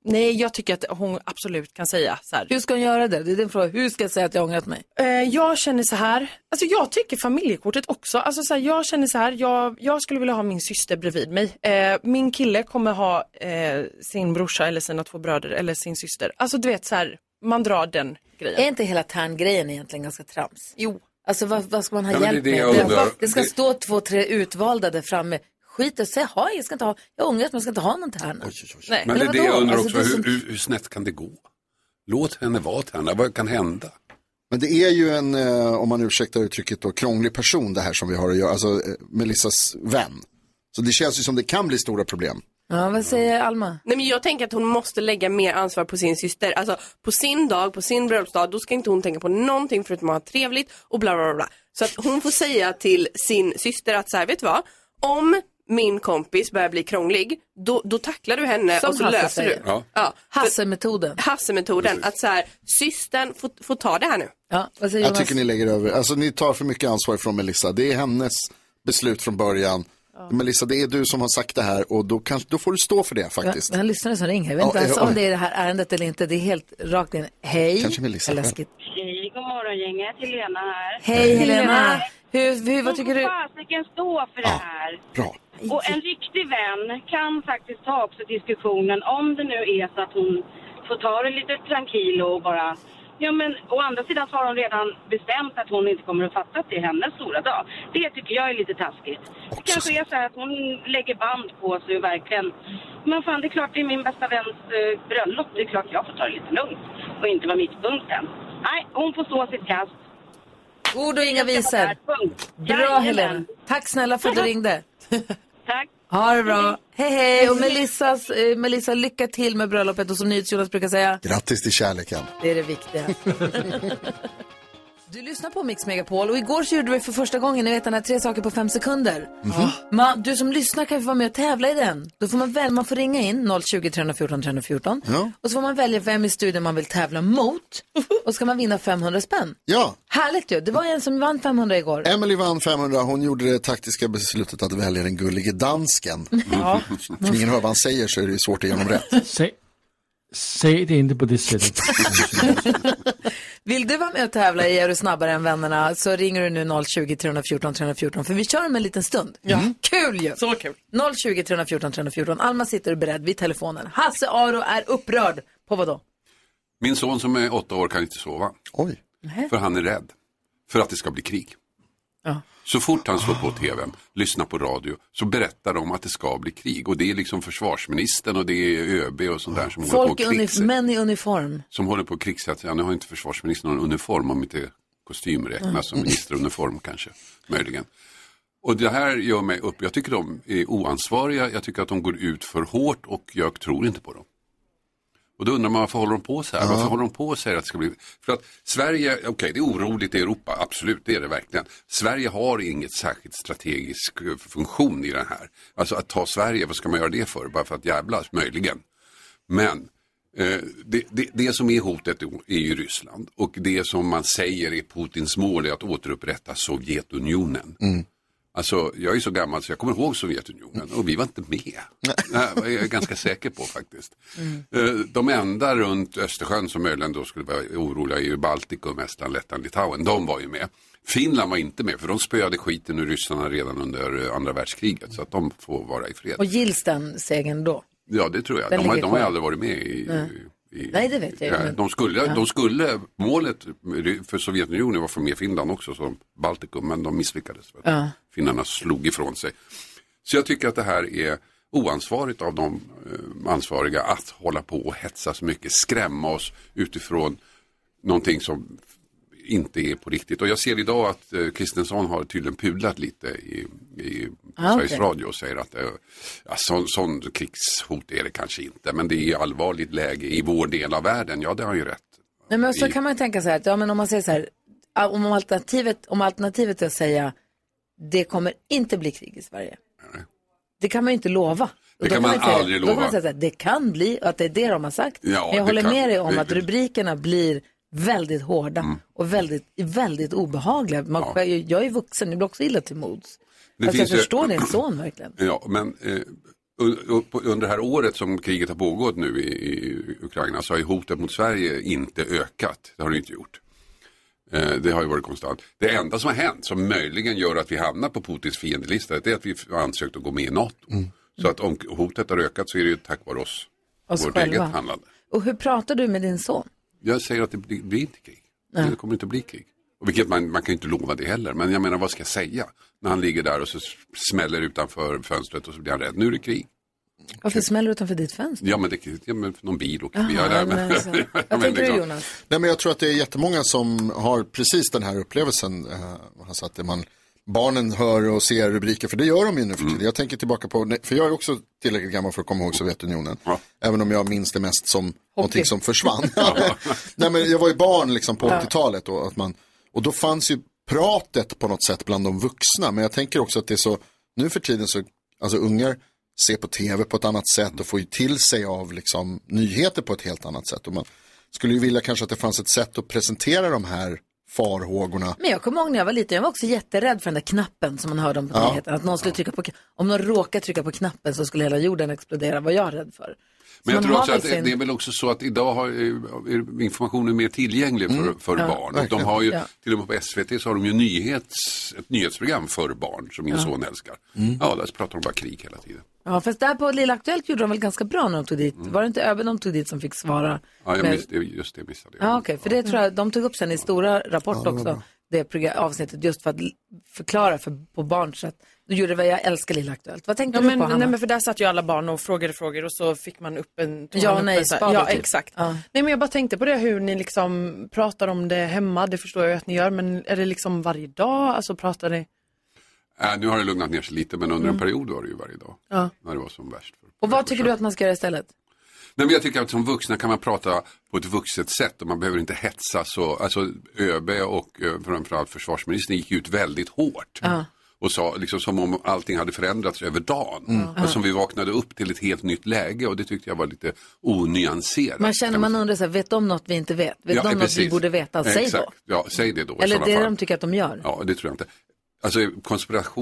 Nej jag tycker att hon absolut kan säga så här.
Hur ska hon göra det? Det är din fråga, hur ska jag säga att jag har ångrat mig?
Eh, jag känner så här, alltså jag tycker familjekortet också, alltså så här, jag känner så här, jag, jag skulle vilja ha min syster bredvid mig. Eh, min kille kommer ha eh, sin brorsa eller sina två bröder eller sin syster. Alltså du vet så här, man drar den grejen.
Är inte hela Tärn-grejen egentligen ganska trams?
Jo.
Alltså vad, vad ska man ha
Ja, men det är
hjälp
det
med?
jag undrar.
Det, det ska
Det-
stå två, tre utvalda där framme. Skit och säg, ha, jag ska inte ha, jag ångrar att man ska inte ha någon Tärna. Nej,
Men det är
eller
det jag
vadå?
undrar
Alltså,
också,
det är
hur,
som-
hur, hur snett kan det gå? Låt henne vara tärna, vad kan hända?
Men det är ju en, eh, om man ursäktar uttrycket då, krånglig person det här som vi har att göra, alltså eh, Melissas vän. Så det känns ju som det kan bli stora problem.
Ja, vad säger Alma?
Nej men jag tänker att hon måste lägga mer ansvar på sin syster. Alltså på sin dag, på sin bröllopsdag, då ska inte hon tänka på någonting förutom att ha trevligt och bla bla bla, bla. Så att hon får säga till sin syster att så här, vet du vad? Om min kompis börjar bli krånglig, då, då tacklar du henne
Som
och så
Hasse
löser
säger.
du.
Ja.
för-
Hassemetoden.
Hassemetoden, att så här, systern får, får ta det här nu.
Ja, vad säger
Jag
Jonas?
tycker ni lägger över, alltså ni tar för mycket ansvar från Melissa. Det är hennes beslut från början. Melissa, det är du som har sagt det här och då, kanske, då får du stå för det faktiskt.
Jag har en lyssnare som ringer. Jag vet
Ja,
inte ens
eh,
om
ja, ja.
det är det här ärendet eller inte. Det är helt rakt in. Hej.
Kanske Melissa
Vad
själv.
läskigt.
Hej, god morgon gänget. Helena här.
Hej Helena. Hur, hur, vad tycker du?
fasiken stå för det här.
Bra.
Och en riktig vän kan faktiskt ta också diskussionen om det nu är så att hon får ta det lite tranquilo och bara... Ja, men å andra sidan så har hon redan bestämt att hon inte kommer att fatta att det är hennes stora dag. Det tycker jag är lite taskigt. Det kanske är så här att hon lägger band på sig och verkligen... Men fan, det är klart det är min bästa väns eh, bröllop. Det är klart jag får ta det lite lugnt och inte vara mittpunkten. Nej, hon får stå sitt kast.
Ord och inga visor. Bra
Jajamän.
Helena. Tack snälla för att du ringde.
Tack.
Ha det bra. Hej hej. Och Melissas, eh, Melissa, lycka till med bröllopet och som NyhetsJonas brukar säga,
Grattis till kärleken.
det är det viktiga. Du lyssnar på Mix Megapol och igår så gjorde vi för första gången, ni vet den här tre saker på fem sekunder. Man, du som lyssnar kan få vara med och tävla i den. Då får man, väl, man får ringa in 020 314 314 och så får man välja vem i studion man vill tävla mot och så ska man vinna 500 spänn.
Ja.
Härligt ju, det var en som vann 500 igår.
Emily vann 500, hon gjorde det taktiska beslutet att välja den gullige dansken.
Ja.
Om ingen hör vad han säger så är det ju svårt att ge honom rätt.
Säg, säg det inte på det sättet.
Vill du vara med och tävla i Är du snabbare än vännerna så ringer du nu 020 314 314 för vi kör om en liten stund. Ja. Kul ju! Så kul! 020 314 314. Alma sitter beredd vid telefonen. Hasse Aro är upprörd. På vad då?
Min son som är åtta år kan inte sova.
Oj.
För han är rädd. För att det ska bli krig.
Ja.
Så fort han slår på tvn, lyssnar på radio, så berättar de att det ska bli krig. Och det är liksom försvarsministern och det är ÖB och sånt där som håller
Folk
på
i
och
unif-
krigs-
män i uniform.
som håller på och krigssätter. Nu har inte försvarsministern någon uniform om inte kostym räknas
Mm.
som ministeruniform kanske, möjligen. Och det här gör mig upp. Jag tycker de är oansvariga, jag tycker att de går ut för hårt och jag tror inte på dem. Och då undrar man varför håller de på så här? Varför håller de på och säger att det ska bli... För att Sverige, okej det är oroligt i Europa, absolut det är det verkligen. Sverige har inget särskilt strategisk eh, funktion i den här. Alltså att ta Sverige, vad ska man göra det för? Bara för att jävlas, möjligen. Men eh, det, det, det som är hotet är ju Ryssland och det som man säger är Putins mål är att återupprätta Sovjetunionen. Alltså jag är så gammal så jag kommer ihåg Sovjetunionen och vi var inte med. Nej, Det är jag ganska säker på faktiskt. Eh, De enda runt Östersjön som möjligen då skulle vara oroliga är ju Baltikum, Estland, Lettland, Litauen. De var ju med. Finland var inte med för de spöade skiten ur ryssarna redan under eh, andra världskriget så att de får vara i fred.
Och gills den segern då?
Ja, det tror jag.
Den
De har,
ligger
de har ju
kvar.
aldrig varit med i...
Nej.
i
Nej, det vet jag ju,
Ja,
men-
de, skulle,
Ja.
de skulle, målet för Sovjetunionen var att få med Finland också som Baltikum, men de misslyckades. För att
Ja.
Finnarna slog ifrån sig. Så jag tycker att det här är oansvarigt av de eh, ansvariga att hålla på och hetsa så mycket, skrämma oss utifrån någonting som inte är på riktigt. Och jag ser idag att eh, Kristensson har tydligen pudlat lite i, i
Ah,
Sveriges
okej.
Radio och säger att eh, ja, sån, sån krigshot är det kanske inte, men det är allvarligt läge i vår del av världen. Ja, det har han ju rätt.
Nej, men så kan man ju tänka så här, att, ja, men om man säger så här, ah, om alternativet, om alternativet är att säga, det kommer inte bli krig i Sverige. Det kan man ju inte lova. Och
Det
då
kan man
säga,
aldrig
då kan
lova.
man säga så här, det kan bli, och att det är det de har sagt.
Ja,
men jag
det
håller
kan-
med dig om
det- Mm.
att rubrikerna blir väldigt hårda och väldigt, väldigt obehagliga. Man,
Ja.
själv- Jag är vuxen, jag blir också illa till mods.
Det
Alltså, jag
finns ju-
förstår din son verkligen.
Ja, men eh, un- upp- under det här året som kriget har pågått nu i, i Ukraina så har ju hotet mot Sverige inte ökat. Det har det ju inte gjort. Eh, det har ju varit konstant. Det enda som har hänt som möjligen gör att vi hamnar på Putins fiendelista det är att vi har ansökt att gå med i NATO.
Mm.
Så att om hotet har ökat så är det ju tack vare oss.
Oss
vårt
själva.
eget handlande.
Och hur pratar du med din son?
Jag säger att det blir, blir inte krig.
Nej.
Det kommer inte bli krig. Och vilket man, man kan ju inte lova det heller. Men jag menar vad ska jag säga? När han ligger där och så s- smäller utanför fönstret och så blir han rädd. Nu är det krig.
Varför smäller du utanför ditt fönster?
Ja men det kan ja, men någon bil och
Jaha,
vi har där. Men,
men så. Vad
men
tänker du,
liksom-
Jonas?
Nej, men jag tror att det är jättemånga som har precis den här upplevelsen. Eh, alltså att det man, barnen hör och ser rubriker, för det gör de ju nu för
Mm.
tiden. Jag tänker tillbaka på, nej, för jag är också tillräckligt gammal för att komma ihåg Sovjetunionen. Även om jag minns det mest som någonting som försvann. nej, men jag var ju barn liksom på
Ja.
80-talet och, att man, och då fanns ju pratet på något sätt bland de vuxna. Men jag tänker också att det är så, nu för tiden så, alltså ungar ser på tv på ett annat sätt och får ju till sig av liksom, nyheter på ett helt annat sätt. Och man skulle ju vilja kanske att det fanns ett sätt att presentera de här farhågorna
Men jag kommer ihåg när jag var liten, jag var också jätterädd för den där knappen som man hörde om på
Ja.
nyheterna. Att någon skulle trycka på, om någon råkade trycka på knappen så skulle hela jorden explodera, var jag rädd för.
Men jag
man
tror
har
också
väl
att det-
sin-
det är väl också så att idag har, eh, är informationen mer tillgänglig för, för
Mm. Ja,
barn. Och de
verkligen.
har ju,
Ja.
till och med på SVT så har de ju nyhets, ett nyhetsprogram för barn som min
Ja.
son älskar. Ja, där pratar de bara krig hela tiden.
Ja, fast där på Lilla Aktuellt gjorde de väl ganska bra när de tog dit. Var det inte ÖB de tog dit som fick svara?
Mm. Ja, jag
Men-
miss, det- just det missade jag.
Ja, okej, för det tror jag de tog upp sen i stora rapport
Ja, det var
också,
bra.
det program, avsnittet, just för att l- förklara för, på barns sätt. Då gjorde det vad jag älskar Lilla Aktuellt. Vad tänkte
Ja,
du
men,
på, Hanna?
nej, men för där satt ju alla barn och frågade frågor och så fick man upp en... tog
Ja,
man upp
nej,
en så här-
spador
Ja,
typ.
exakt. Nej, men jag bara tänkte på det, hur ni liksom pratar om det hemma. Det förstår jag ju att ni gör, men är det liksom varje dag? Alltså pratar ni...
Äh, nu har det lugnat ner sig lite, men under en
Mm.
period var det ju varje dag.
Ja.
När det var som värst.
Och vad tycker du att man ska göra istället?
Nej, men jag tycker att som vuxna kan man prata på ett vuxet sätt och man behöver inte hetsa så. Alltså ÖB och eh, framförallt försvarsministern gick ut väldigt hårt
Ja.
och sa liksom som om allting hade förändrats över dagen.
Mm.
Alltså, som vi vaknade upp till ett helt nytt läge och det tyckte jag var lite onyanserat.
Man känner, man undrar så här, vet de något vi inte vet? Vet
Ja,
de något vi
precis.
borde veta? Säg
Exakt.
då.
Ja, säg det då. i
Eller
sådana
det
fall.
de tycker att de gör.
Ja, det tror jag inte. Alltså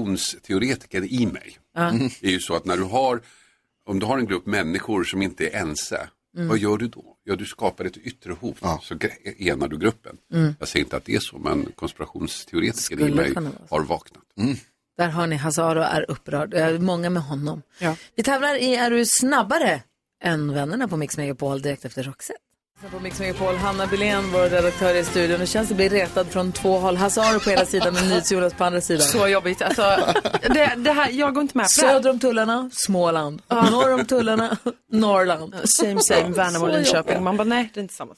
konspirationsteoretiker i mig Mm.
Ja.
är ju så att när du har, om du har en grupp människor som inte är ense,
Mm.
vad gör du då? Ja, du skapar ett yttre hot, så gre- enar du gruppen.
Mm.
Jag säger inte att det är så, men konspirationsteoretiker i
Skulle
mig
kunna vara
har vaknat.
Där har ni, Hazaro är upprörd. Jag är många med honom. Vi tävlar i Är du snabbare än vännerna på Mix Megapol direkt efter Roxette. På Mix Megapol, Hanna Billén, vår redaktör i studion. Det känns att bli retad från två håll. Hazaro på ena sidan och NyhetsJonas på andra sidan.
Så jobbigt. Alltså, det, det här, jag går inte med på det här.
Söder om tullarna, Småland. Norr om tullarna, Norrland.
Same same, Värnamo och
Så
Linköping.
jobbigt.
Man bara, nej, det är inte samma.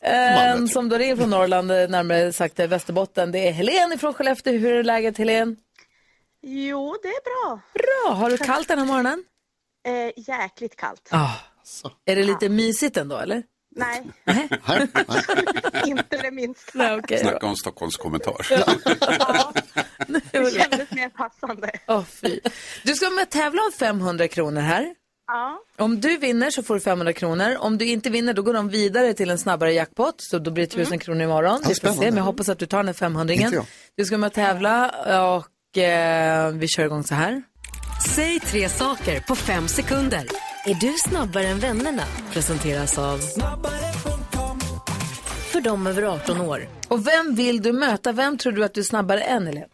En som då ringer från Norrland, eh, närmare sagt eh, Västerbotten, det är Helen ifrån Skellefteå. Hur är läget Helen?
Jo, det är bra.
Bra, har du kallt den här morgonen?
Eh, jäkligt kallt.
Ah,
Ja. Är det lite mysigt ändå eller?
Nej, inte det minsta.
Nej, okej då.
Snacka om Stockholms kommentar.
Det kändes mer passande.
Åh, fy. Du ska vara med och tävla om 500 kronor här.
Ja.
Om du vinner så får du 500 kronor. Om du inte vinner då går de vidare till en snabbare jackpot. Så då blir det
Mm.
1000 kronor imorgon.
Ja,
Vi får se,
spännande.
men jag hoppas att du tar den här 500
Inte
-ringen.
jag.
Du ska med och tävla och eh, vi kör igång så här.
Säg tre saker på fem sekunder. Är du snabbare än vännerna? Presenteras av... För dem över 18 år.
Och vem vill du möta? Vem tror du att du är snabbare än, Helene?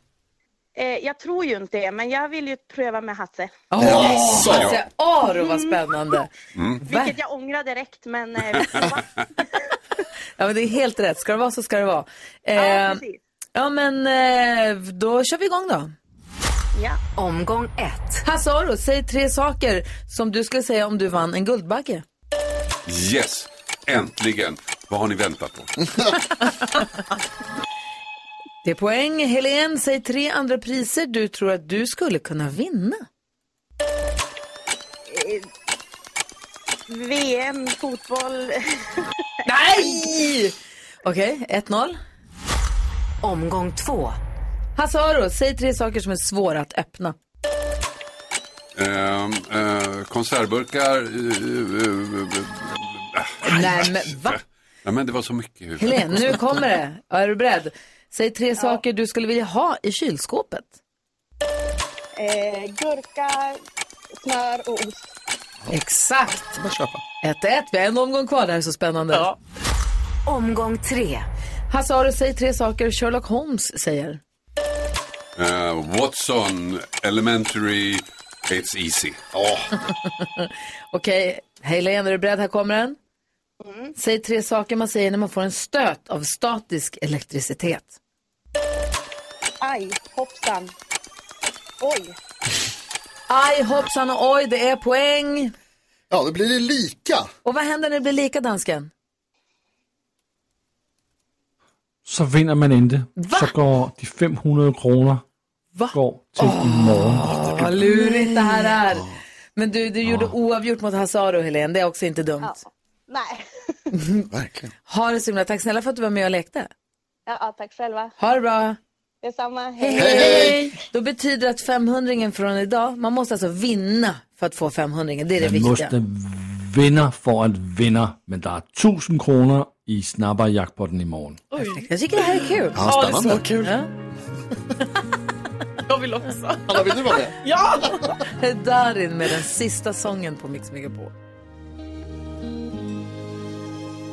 Eh, jag tror ju inte det, men jag vill ju pröva med Hasse. Eh,
Åh,
Jaså, ja.
Hasse Aro, vad spännande.
Vilket jag ångrar direkt, men eh,
Ja, men det är helt rätt. Ska det vara så ska det vara. Eh,
precis.
ja, men eh, då kör vi igång då.
Ja. Omgång ett.
Hasse Aro, säg tre saker som du skulle säga om du vann en Guldbagge.
Yes, äntligen. Vad har ni väntat på?
Det är poäng. Helene, säg tre andra priser du tror att du skulle kunna vinna.
eh, VM, fotboll.
Nej! Okej, 1-0.
Omgång två.
Hasse Aro, säg tre saker som är svåra att öppna.
Ehm, eh, konservburkar.
Nej, men va?
Nej, men det var så mycket i huvudet.
Helene, nu kommer det. Ja, Är du beredd? Säg tre saker du skulle vilja ha i kylskåpet.
Eh, gurka, smör och ost.
Exakt. 1-1. Vi har en omgång kvar. Det här är så spännande.
Omgång tre.
Hasse Aro, säg tre saker Sherlock Holmes säger.
Eh, Watson, Elementary, It's Easy. Åh,
Okej, Helene, är du beredd? Här kommer den.
Mm.
Säg tre saker man säger när man får en stöt av statisk elektricitet.
Aj, hoppsan. Oj.
Aj, hoppsan och oj, det är poäng.
Ja, då blir det lika.
Och vad händer när det blir lika, dansken?
Så vinder man inte. Så går de 500 kroner går till imorgon.
Vad lurigt det här är. Men du, du gjorde oavgjort mot Hasaru, Helene. Det är också inte dumt.
Nej.
Verkligen.
Ha det så himla. Tack snälla för att du var med och lekte.
Ja, ja, tack själva.
Ha det bra.
Detsamma.
Då betyder att 500 från idag, man måste alltså vinna för att få 500 Det är det
Man
viktiga.
måste vinna för att vinna, men det är 1000 kronor i snabba jackpotten imorgon.
Perfekt. Jag tycker det här är kul.
Ja, Ja, det är så spännande.
kul.
Ja.
Jag vill också.
Anna, vill du vara med?
Ja!
Här är Darin med den sista sången på Mix på.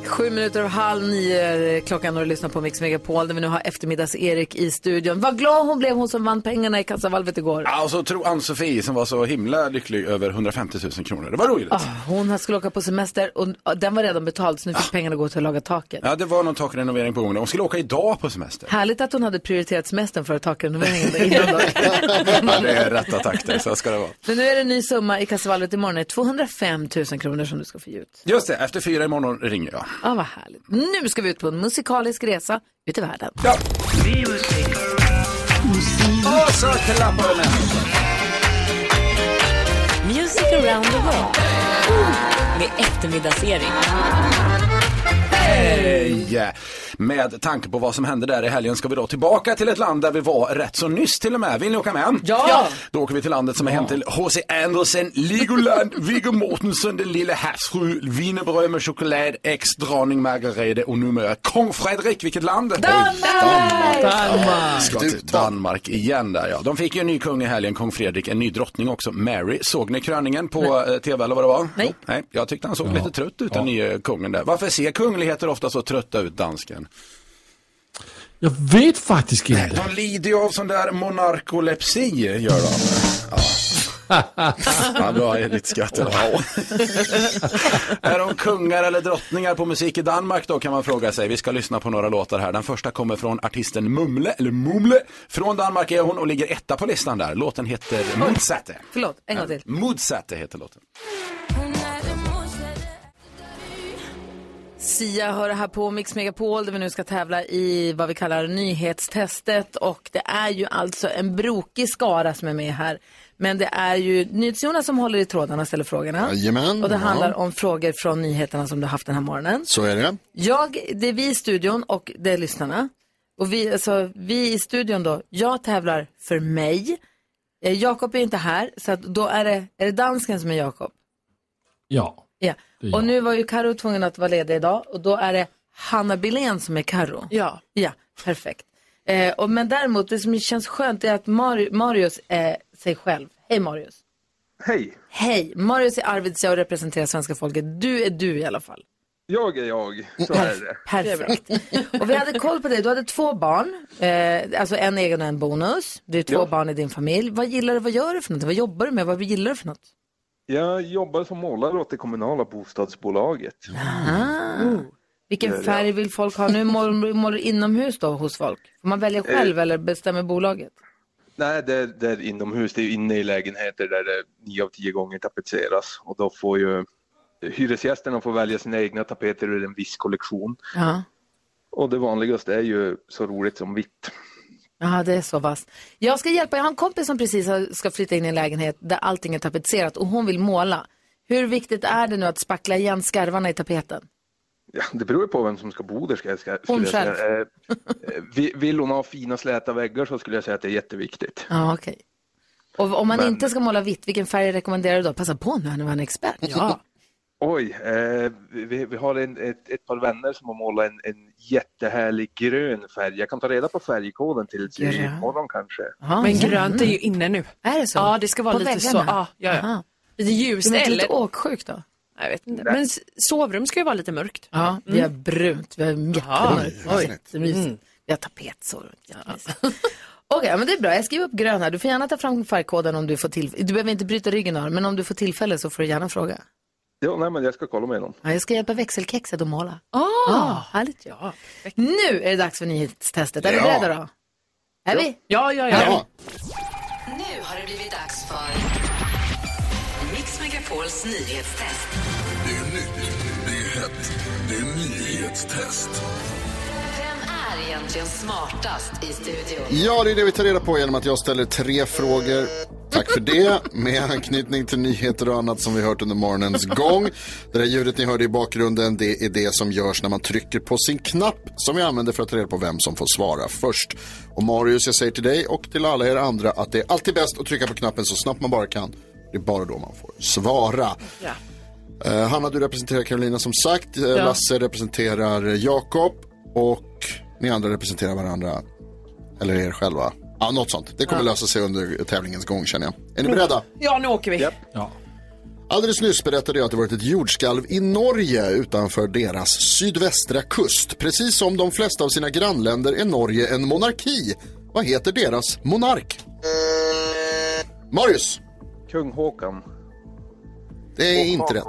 Sju minuter över halv nio är klockan och du lyssnar på Mix Megapol där vi nu har eftermiddags-Erik i studion. Vad glad hon blev, hon som vann pengarna i kassavalvet igår.
Ja, och så tro Ann-Sofie som var så himla lycklig över 150 000 kronor. Det var roligt.
Ah, hon skulle åka på semester och och den var redan betald så nu fick pengarna gå till att laga taket.
Ja, det var någon takrenovering på gång. De skulle åka idag på semester.
Härligt att hon hade prioriterat semestern före takrenoveringen innan då.
Ja, det är rätta takter, så ska det vara.
Men nu är det en ny summa i kassavalvet imorgon, Det är 205 000 kronor som du ska få ge ut.
Just det, efter fyra imorgon ringer jag.
Ja, vad härligt. Nu ska vi ut på en musikalisk resa ut i världen.
Och så klappar de med.
Music around the world. Med eftermiddagsserie.
Hej! Med tanke på vad som hände där i helgen ska vi då tillbaka till ett land där vi var rätt så nyss till och med. Vill ni åka med?
Ja!
Då åker vi till landet som är hem till H.C. Andersen, Legoland, Viggo Mortensen, den lille havsfru, wienerbröd med choklad, ex-drottning Margareta och numera kung Fredrik. Vilket land?
Danmark!
Ja, Ska till Danmark igen där ja. De fick ju en ny kung i helgen, kung Fredrik, en ny drottning också, Mary. Såg ni kröningen på eh, tv eller vad det var? Nej. Nej, jag tyckte han såg lite trött ut, den nya kungen där. Varför ser kungligheter ofta så trötta ut, dansken?
Jag vet faktiskt inte.
De lider ju av sån där monarkolepsi, gör de. Ja. Ja, bra, lite skratt. Wow. är de kungar eller drottningar på musik i Danmark då kan man fråga sig. Vi ska lyssna på några låtar här. Den första kommer från artisten Mumle, eller Mumle. Från Danmark är hon och ligger etta på listan där. Låten heter Modsatte.
Förlåt, en gång till.
Modsatte heter låten.
Sia hör det här på Mix Megapol där vi nu ska tävla i vad vi kallar nyhetstestet och det är ju alltså en brokig skara som är med här. Men det är ju NyhetsJonas som håller i trådarna och ställer frågorna.
Jajamän,
och det
ja.
handlar om frågor från nyheterna som du haft den här morgonen.
Så är det.
Jag, det är vi i studion och det är lyssnarna. Och vi, alltså, vi i studion då, jag tävlar för mig. Eh, Jakob är inte här, så att då är det, är det dansken som är Jakob.
Ja.
Ja.
Det är
Och
jag.
nu var ju Karo tvungen att vara ledig idag och då är det Hanna Billén som är Karo.
Ja.
Ja, perfekt. Eh, och, men däremot, det som känns skönt är att Mari- Marius är sig själv. Hej Marius.
Hej!
Hej, Marius är Arvidsjaur och representerar svenska folket. Du är du i alla fall.
Jag är jag, så är det.
Mm, Perfekt. Och vi hade koll på dig. Du hade två barn, eh, alltså en egen och en bonus. Du är två
Ja.
barn i din familj. Vad gillar du? Vad gör du för något? Vad jobbar du med? Vad gillar du för något?
Jag jobbar som målare åt det kommunala bostadsbolaget.
Ah.
Ja,
Vilken
ja.
färg vill folk ha? Nu målar målar du inomhus då hos folk? Får man välja själv
Eh.
eller bestämmer bolaget?
Nej, det är, det är inomhus, det är inne i lägenheter där det nio av tio gånger tapetseras och då får ju hyresgästerna får välja sina egna tapeter ur en viss kollektion.
Ja.
Och det vanligaste är ju så roligt som vitt.
Ja, det är så vasst. Jag ska hjälpa, jag har en kompis som precis har- ska flytta in i en lägenhet där allting är tapetserat och hon vill måla. Hur viktigt är det nu att spackla igen skarvarna i tapeten?
Ja, det beror ju på vem som ska bo där ska jag, ska, skulle
Hon
jag säga. Eh, eh, vi- vill hon ha fina släta väggar så skulle jag säga att det är jätteviktigt.
Ja, okej. Och om man
Men-
inte ska måla vitt, vilken färg rekommenderar du då? Passa på nu, han är en expert. Ja.
Oj, eh, vi, vi har en, ett, ett par vänner som har målat en, en jättehärlig grön färg. Jag kan ta reda på färgkoden till till
Grön.
imorgon kanske.
Men grönt är ju inne nu.
Mm. Är det så?
Ja, det ska vara
På
lite
väggarna?
så. Ja, ja, ja.
Aha.
Lite ljust
Du menar inte
eller...
lite åksjuk då?
Jag vet inte. Men s- sovrum ska ju vara lite mörkt.
Ja, vi har brunt, vi har jättemörkt.
Oj,
Jättemysigt.
mm.
Vi har tapetsår. Jättemysigt. Okej, men det är bra. Jag skriver upp grön här. Du får gärna ta fram färgkoden om du får tillfälle. Du behöver inte bryta ryggen av den, men om du får tillfälle så får du gärna fråga.
Jo, nej, men jag ska kolla med dem.
Ja, jag ska hjälpa växelkexet att måla. Ah, härligt ja. Nu är det dags för nyhetstestet. Är vi
Ja.
beredda då? Är vi?
Ja, ja, ja.
Nu har det blivit dags för Mix Megapols nyhetstest.
Det är nytt, det är hett, det är nyhetstest.
Vem är är egentligen smartast i studion?
Ja, det är det vi tar reda på genom att jag ställer tre frågor. Tack för det, med anknytning till nyheter och annat som vi hört under morgonens gång. Det där ljudet ni hörde i bakgrunden, det är det som görs när man trycker på sin knapp som vi använder för att ta reda på vem som får svara först. Och Marius, jag säger till dig och till alla er andra att det är alltid bäst att trycka på knappen så snabbt man bara kan. Det är bara då man får svara.
Ja.
Eh, Hanna, du representerar Carolina som sagt. Eh,
Ja.
Lasse representerar Jakob. Och ni andra representerar varandra. Eller er själva. Ja, något sånt. Det kommer
Ja.
lösa sig under tävlingens gång känner jag. Är ni beredda?
Ja, nu åker vi.
Ja.
Alldeles nyss berättade jag att det varit ett jordskalv i Norge utanför deras sydvästra kust. Precis som de flesta av sina grannländer är Norge en monarki. Vad heter deras monark? Marius?
Kung Håkan.
Det är inte rätt.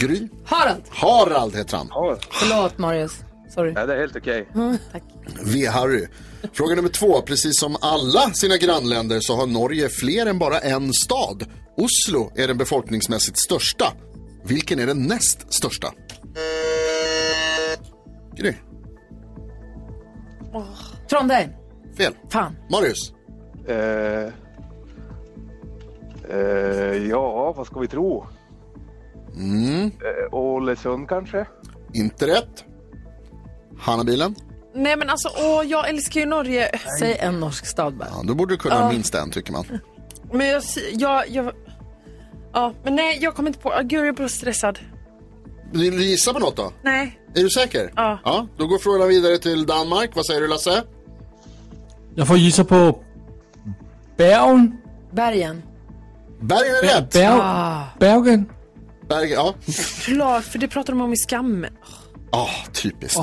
Gry?
Harald.
Harald heter han.
Förlåt Marius. Sorry.
Nej, det är helt okej.
Mm, tack.
V-Harry. Fråga nummer två. Precis som alla sina grannländer så har Norge fler än bara en stad. Oslo är den befolkningsmässigt största. Vilken är den näst största? Gry.
Trondheim.
Fel.
Fan.
Marius.
Eh, eh, ja, vad ska vi tro?
Mm,
Eh, Ålesund kanske?
inte rätt. Hannabilen.
Nej men alltså, åh, jag älskar ju Norge.
Säg en norsk stad bara.
Ja, då borde du kunna
Ja.
minst en tycker man.
Men jag, jag, jag... Ja, men nej, jag kommer inte på. Ah, Gud, jag blir stressad.
Vill du gissa på något då?
Nej.
Är du säker?
Ja.
ja. Då går frågan vidare till Danmark. Vad säger du Lasse?
Jag får gissa på Bergen.
Bergen.
Bergen är rätt.
Bergen.
Ah.
Bergen.
Bergen, ja.
Klart, för det pratar de om i Skam.
Ah, typiskt.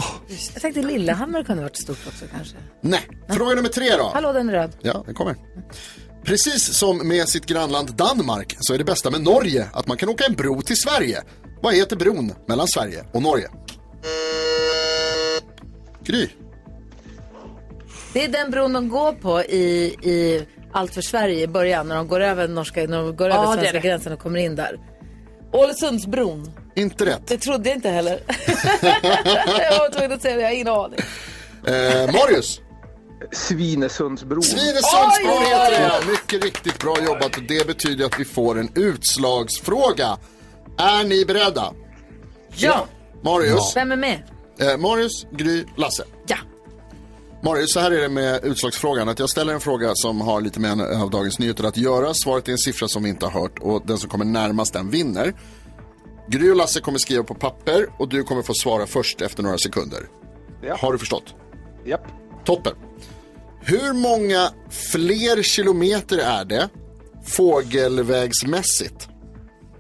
Jag tänkte Lillehammer kunde varit stort också kanske.
Nej, fråga nummer tre då.
Hallå, den är röd.
Ja, den kommer. Precis som med sitt grannland Danmark så är det bästa med Norge att man kan åka en bro till Sverige. Vad heter bron mellan Sverige och Norge? Gry.
Det är den bron de går på i, i Allt för Sverige i början när de går över, norska, när de går
Ja, det
över
är
svenska
det.
gränsen och kommer in där. Ålesundsbron.
Inte rätt.
Det trodde jag inte heller. jag var tvungen att säga det, jag har ingen aning.
Eh, Marius.
Svinesundsbron.
Svinesundsbron
Oj!
heter det. Mycket riktigt bra jobbat och det betyder att vi får en utslagsfråga. Är ni beredda?
Ja.
Marius.
Vem är med?
Eh, Marius, Gry, Lasse.
Ja.
Marius, så här är det med utslagsfrågan. Att jag ställer en fråga som har lite med en av Dagens Nyheter att göra. Svaret är en siffra som vi inte har hört och den som kommer närmast den vinner. Gry och Lasse kommer skriva på papper och du kommer få svara först efter några sekunder. Har du förstått?
Japp.
Toppen. Hur många fler kilometer är det fågelvägsmässigt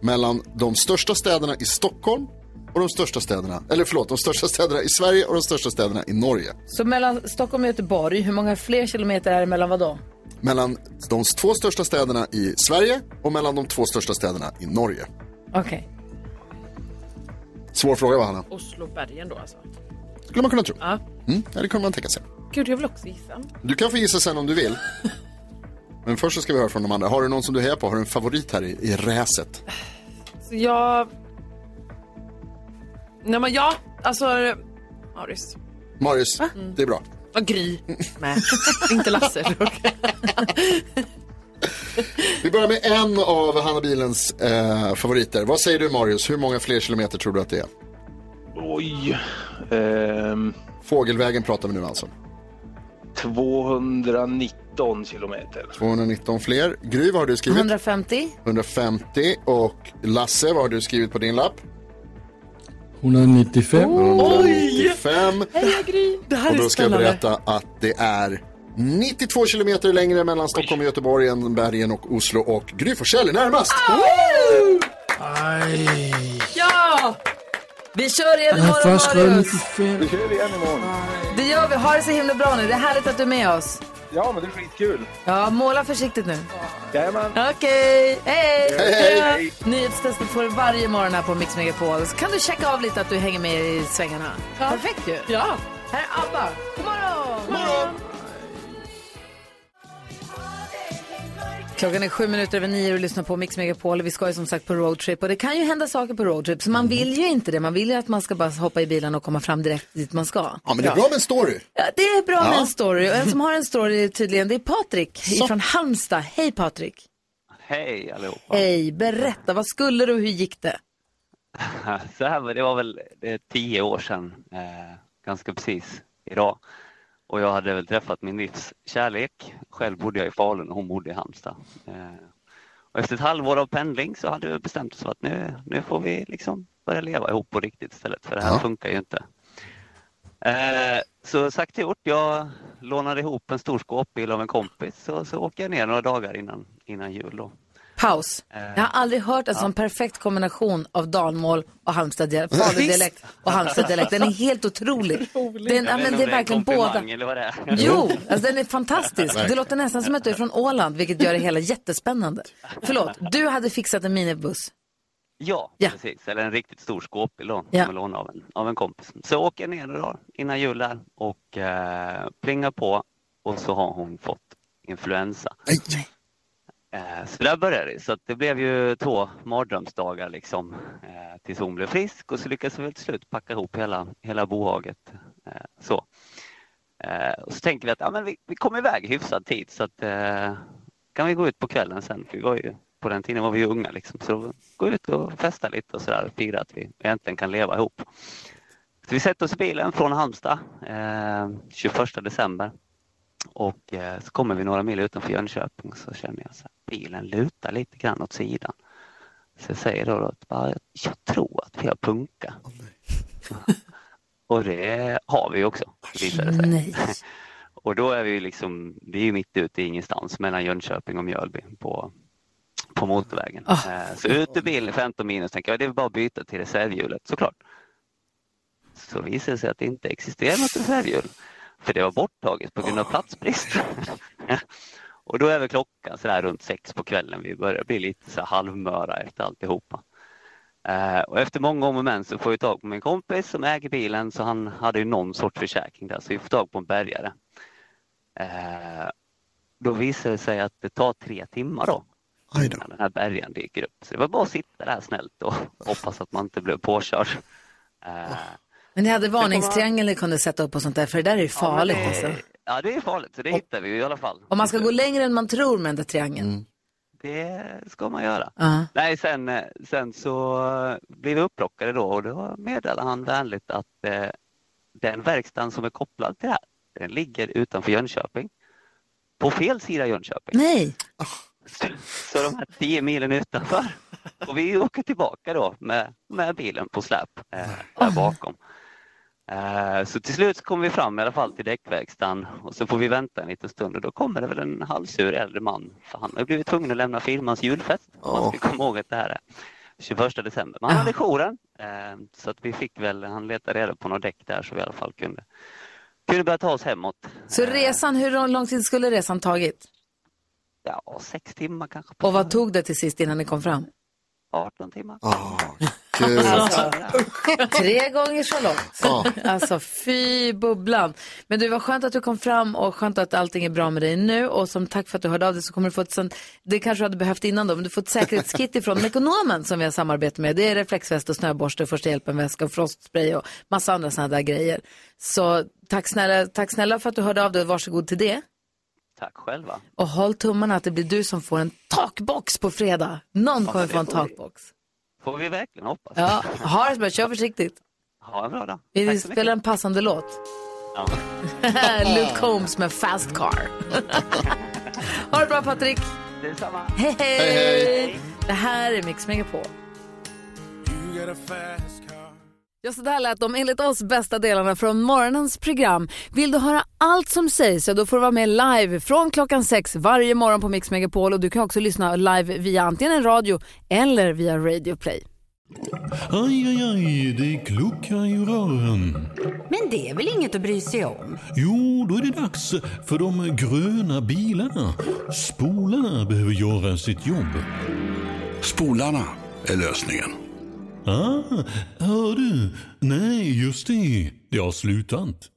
mellan de största städerna i Stockholm och de största städerna, eller förlåt, de största städerna i Sverige och de största städerna i Norge?
Så mellan Stockholm och Göteborg, hur många fler kilometer är det mellan vadå?
mellan de två största städerna i Sverige och mellan de två största städerna i Norge?
Okej.
Svår fråga va Hanna?
Oslo, Bergen då alltså.
Skulle man kunna tro.
Ja.
Mm, ja, det kunde man tänka sig.
Gud, jag vill också gissa.
Du kan få gissa sen om du vill. Men först så ska vi höra från de andra. Har du någon som du hejar på? Har du en favorit här i, i räset?
Så jag... Nej men ja, alltså... Marius.
Marius,
Va?
det är bra.
Ja, Gry. Nej, inte Lasse.
Vi börjar med en av Hanna Bilens eh, favoriter. Vad säger du Marius? Hur många fler kilometer tror du att det är?
Oj.
Fågelvägen pratar vi nu alltså.
219 kilometer.
219 fler. Gry, vad har du skrivit?
150?
150. Och Lasse, vad har du skrivit på din lapp?
195.
195.
Hej Gry. Det här
Och
är
då ska jag
spännande.
berätta att det är 92 kilometer längre mellan Stockholm och Göteborg än Bergen och Oslo och Gry Forssell är närmast.
Ja! Vi kör igen imorgon Marius.
95.
Vi kör igen imorgon.
Det gör vi. Ha det så himla bra nu. Det är härligt att du är med oss.
Ja, men det är skitkul.
Ja, måla försiktigt nu.
Jajamän.
Okej, hej!
Hej, hej.
Nyhetstestet får du varje morgon här på Mix Megapol. Så kan du checka av lite att du hänger med i svängarna. Perfekt ju. Ja. Här är ABBA. God morgon! God morgon! Klockan är sju minuter över nio och lyssnar på Mix Megapol. Vi ska ju som sagt på roadtrip och det kan ju hända saker på roadtrip. Så
Mm.
man vill ju inte det. Man vill ju att man ska bara hoppa i bilen och komma fram direkt dit man ska.
Ja, men det är bra med en story.
Ja, det är bra med
Ja.
en story. Och en som har en story tydligen, det är Patrik
Så.
från Halmstad. Hej Patrik!
Hej allihopa!
Hej, berätta. Vad skulle du och hur gick det?
Så här var det, var väl det är tio år sedan, eh, ganska precis idag. Och jag hade väl träffat min livs kärlek. Själv bodde jag i Falun och hon bodde i Halmstad. Eh, och efter ett halvår av pendling så hade vi bestämt oss för att nu, nu får vi liksom börja leva ihop på riktigt istället, för det här funkar ju inte. Eh, så sagt och gjort, jag lånade ihop en stor skåpbil av en kompis och så åker jag ner några dagar innan, innan jul. Då.
Paus. Jag har aldrig hört en sån perfekt kombination av dalmål och Halmstaddialekt, Faludialekt och Halmstaddialekt. Den är helt otrolig. Den, ja,
Jag vet
men
inte
det
om
är verkligen
en komplimang
båda.
Eller vad det är.
Jo, alltså den är fantastisk. Det
Verkligen.
låter nästan som att du är från Åland, vilket gör det hela jättespännande. Förlåt, du hade fixat en minibuss.
Ja, precis. Eller en riktigt stor skåpbil då,
Ja.
som jag lånade av en, av en kompis. Så jag åker ner då innan jul där och eh, plingar på och så har hon fått influensa. Eh, så där började det. Så att det blev ju två mardrömsdagar liksom eh, tills hon blev frisk och så lyckades vi väl till slut packa ihop hela, hela bohaget. Eh, så. Eh, och så tänker vi att ja, men vi, vi kom iväg i hyfsad tid så att eh, kan vi gå ut på kvällen sen. För vi var ju, på den tiden var vi ju unga liksom. Så då gå ut och festa lite och sådär och fira att vi äntligen kan leva ihop. Så vi sätter oss i bilen från Halmstad eh, 21 december. Och eh, så kommer vi några mil utanför Jönköping så känner jag så här, bilen lutar lite grann åt sidan. Så jag säger då att "Ja, jag tror att vi har punka. och det har vi också visar det sig.
Nej.
och då är vi ju liksom, det är ju mitt ute i ingenstans mellan Jönköping och Mjölby på, på motorvägen. Eh, Så ut ur bilen 15 minus tänker jag det är bara att byta till reservhjulet såklart. Så visar det sig att det inte existerar något reservhjul. För det var borttaget på grund av platsbrist. och då är väl klockan sådär runt sex på kvällen. Vi börjar bli lite så här halvmöra efter alltihopa. Eh, och efter många om och men så får vi tag på min kompis som äger bilen så han hade ju någon sorts försäkring där så vi får tag på en bärgare. Eh, då visar det sig att det tar tre timmar då. När den här bärgaren dyker upp. Så det var bara att sitta där snällt och hoppas att man inte blev påkörd. Eh,
Men ni hade varningstriangel ni kunde sätta upp och sånt där, för det där är ju farligt
ja, men det,
alltså.
Ja, det är farligt. Så det hittar vi ju i alla fall.
Om man ska gå längre än man tror med den där triangeln.
Det ska man göra.
Ja.
Nej, sen, eh, sen så eh, blev vi upplockade då och då meddelade han vänligt att eh, den verkstaden som är kopplad till det här, den ligger utanför Jönköping. På fel sida Jönköping.
Nej.
Så de här 10 milen utanför. Och vi åker tillbaka då med, med bilen på släp eh, där bakom. Eh, så till slut så kommer vi fram i alla fall till däckverkstan och så får vi vänta en liten stund och då kommer det väl en halvsur äldre man. För han har ju blivit tvungen att lämna firmans julfest. Man ska komma ihåg att det här är 21 december. Men han hade jouren. Eh, så att vi fick väl, han letade reda på några däck där så vi i alla fall kunde, kunde börja ta oss hemåt.
Så resan, hur lång tid skulle resan tagit?
Ja, sex timmar kanske.
Och vad tog det till sist innan ni kom fram?
18 timmar.
Alltså, tre gånger så långt. Alltså fy bubblan. Men du, var skönt att du kom fram och skönt att allting är bra med dig nu. Och som tack för att du hörde av dig så kommer du få ett sånt, det kanske du hade behövt innan då, men du får ett säkerhetskit ifrån Mekonomen som vi har samarbete med. Det är reflexväst och snöborste, första hjälpen-väska och frostspray och massa andra sådana där grejer. Så tack snälla, tack snälla för att du hörde av dig och varsågod till det.
Tack själva.
Och håll tummarna att det blir du som får en takbox på fredag. Någon
Ja,
kommer
det
få en
får vi.
takbox.
Får vi verkligen hoppas.
Ja, ha det så bra. Kör försiktigt.
Ha en bra dag.
Vi
Tack så mycket.
spelar en passande låt.
Ja.
Luke Combs med Fast Car. ha det bra Patrik.
Detsamma.
Hej hej.
Hej, hej.
Det här är Mix Megapol. Ja, så där lät de enligt oss bästa delarna från morgonens program. Vill du höra allt som sägs så då får du vara med live från klockan sex varje morgon på Mix Megapol och du kan också lyssna live via antingen radio eller via Radio Play.
Aj, aj, aj, det kluckar i rören.
Men det är väl inget att bry sig om?
Jo, då är det dags för de gröna bilarna. Spolarna behöver göra sitt jobb. Spolarna är lösningen. Ah, hör du? Nej, just det. Det har slutat.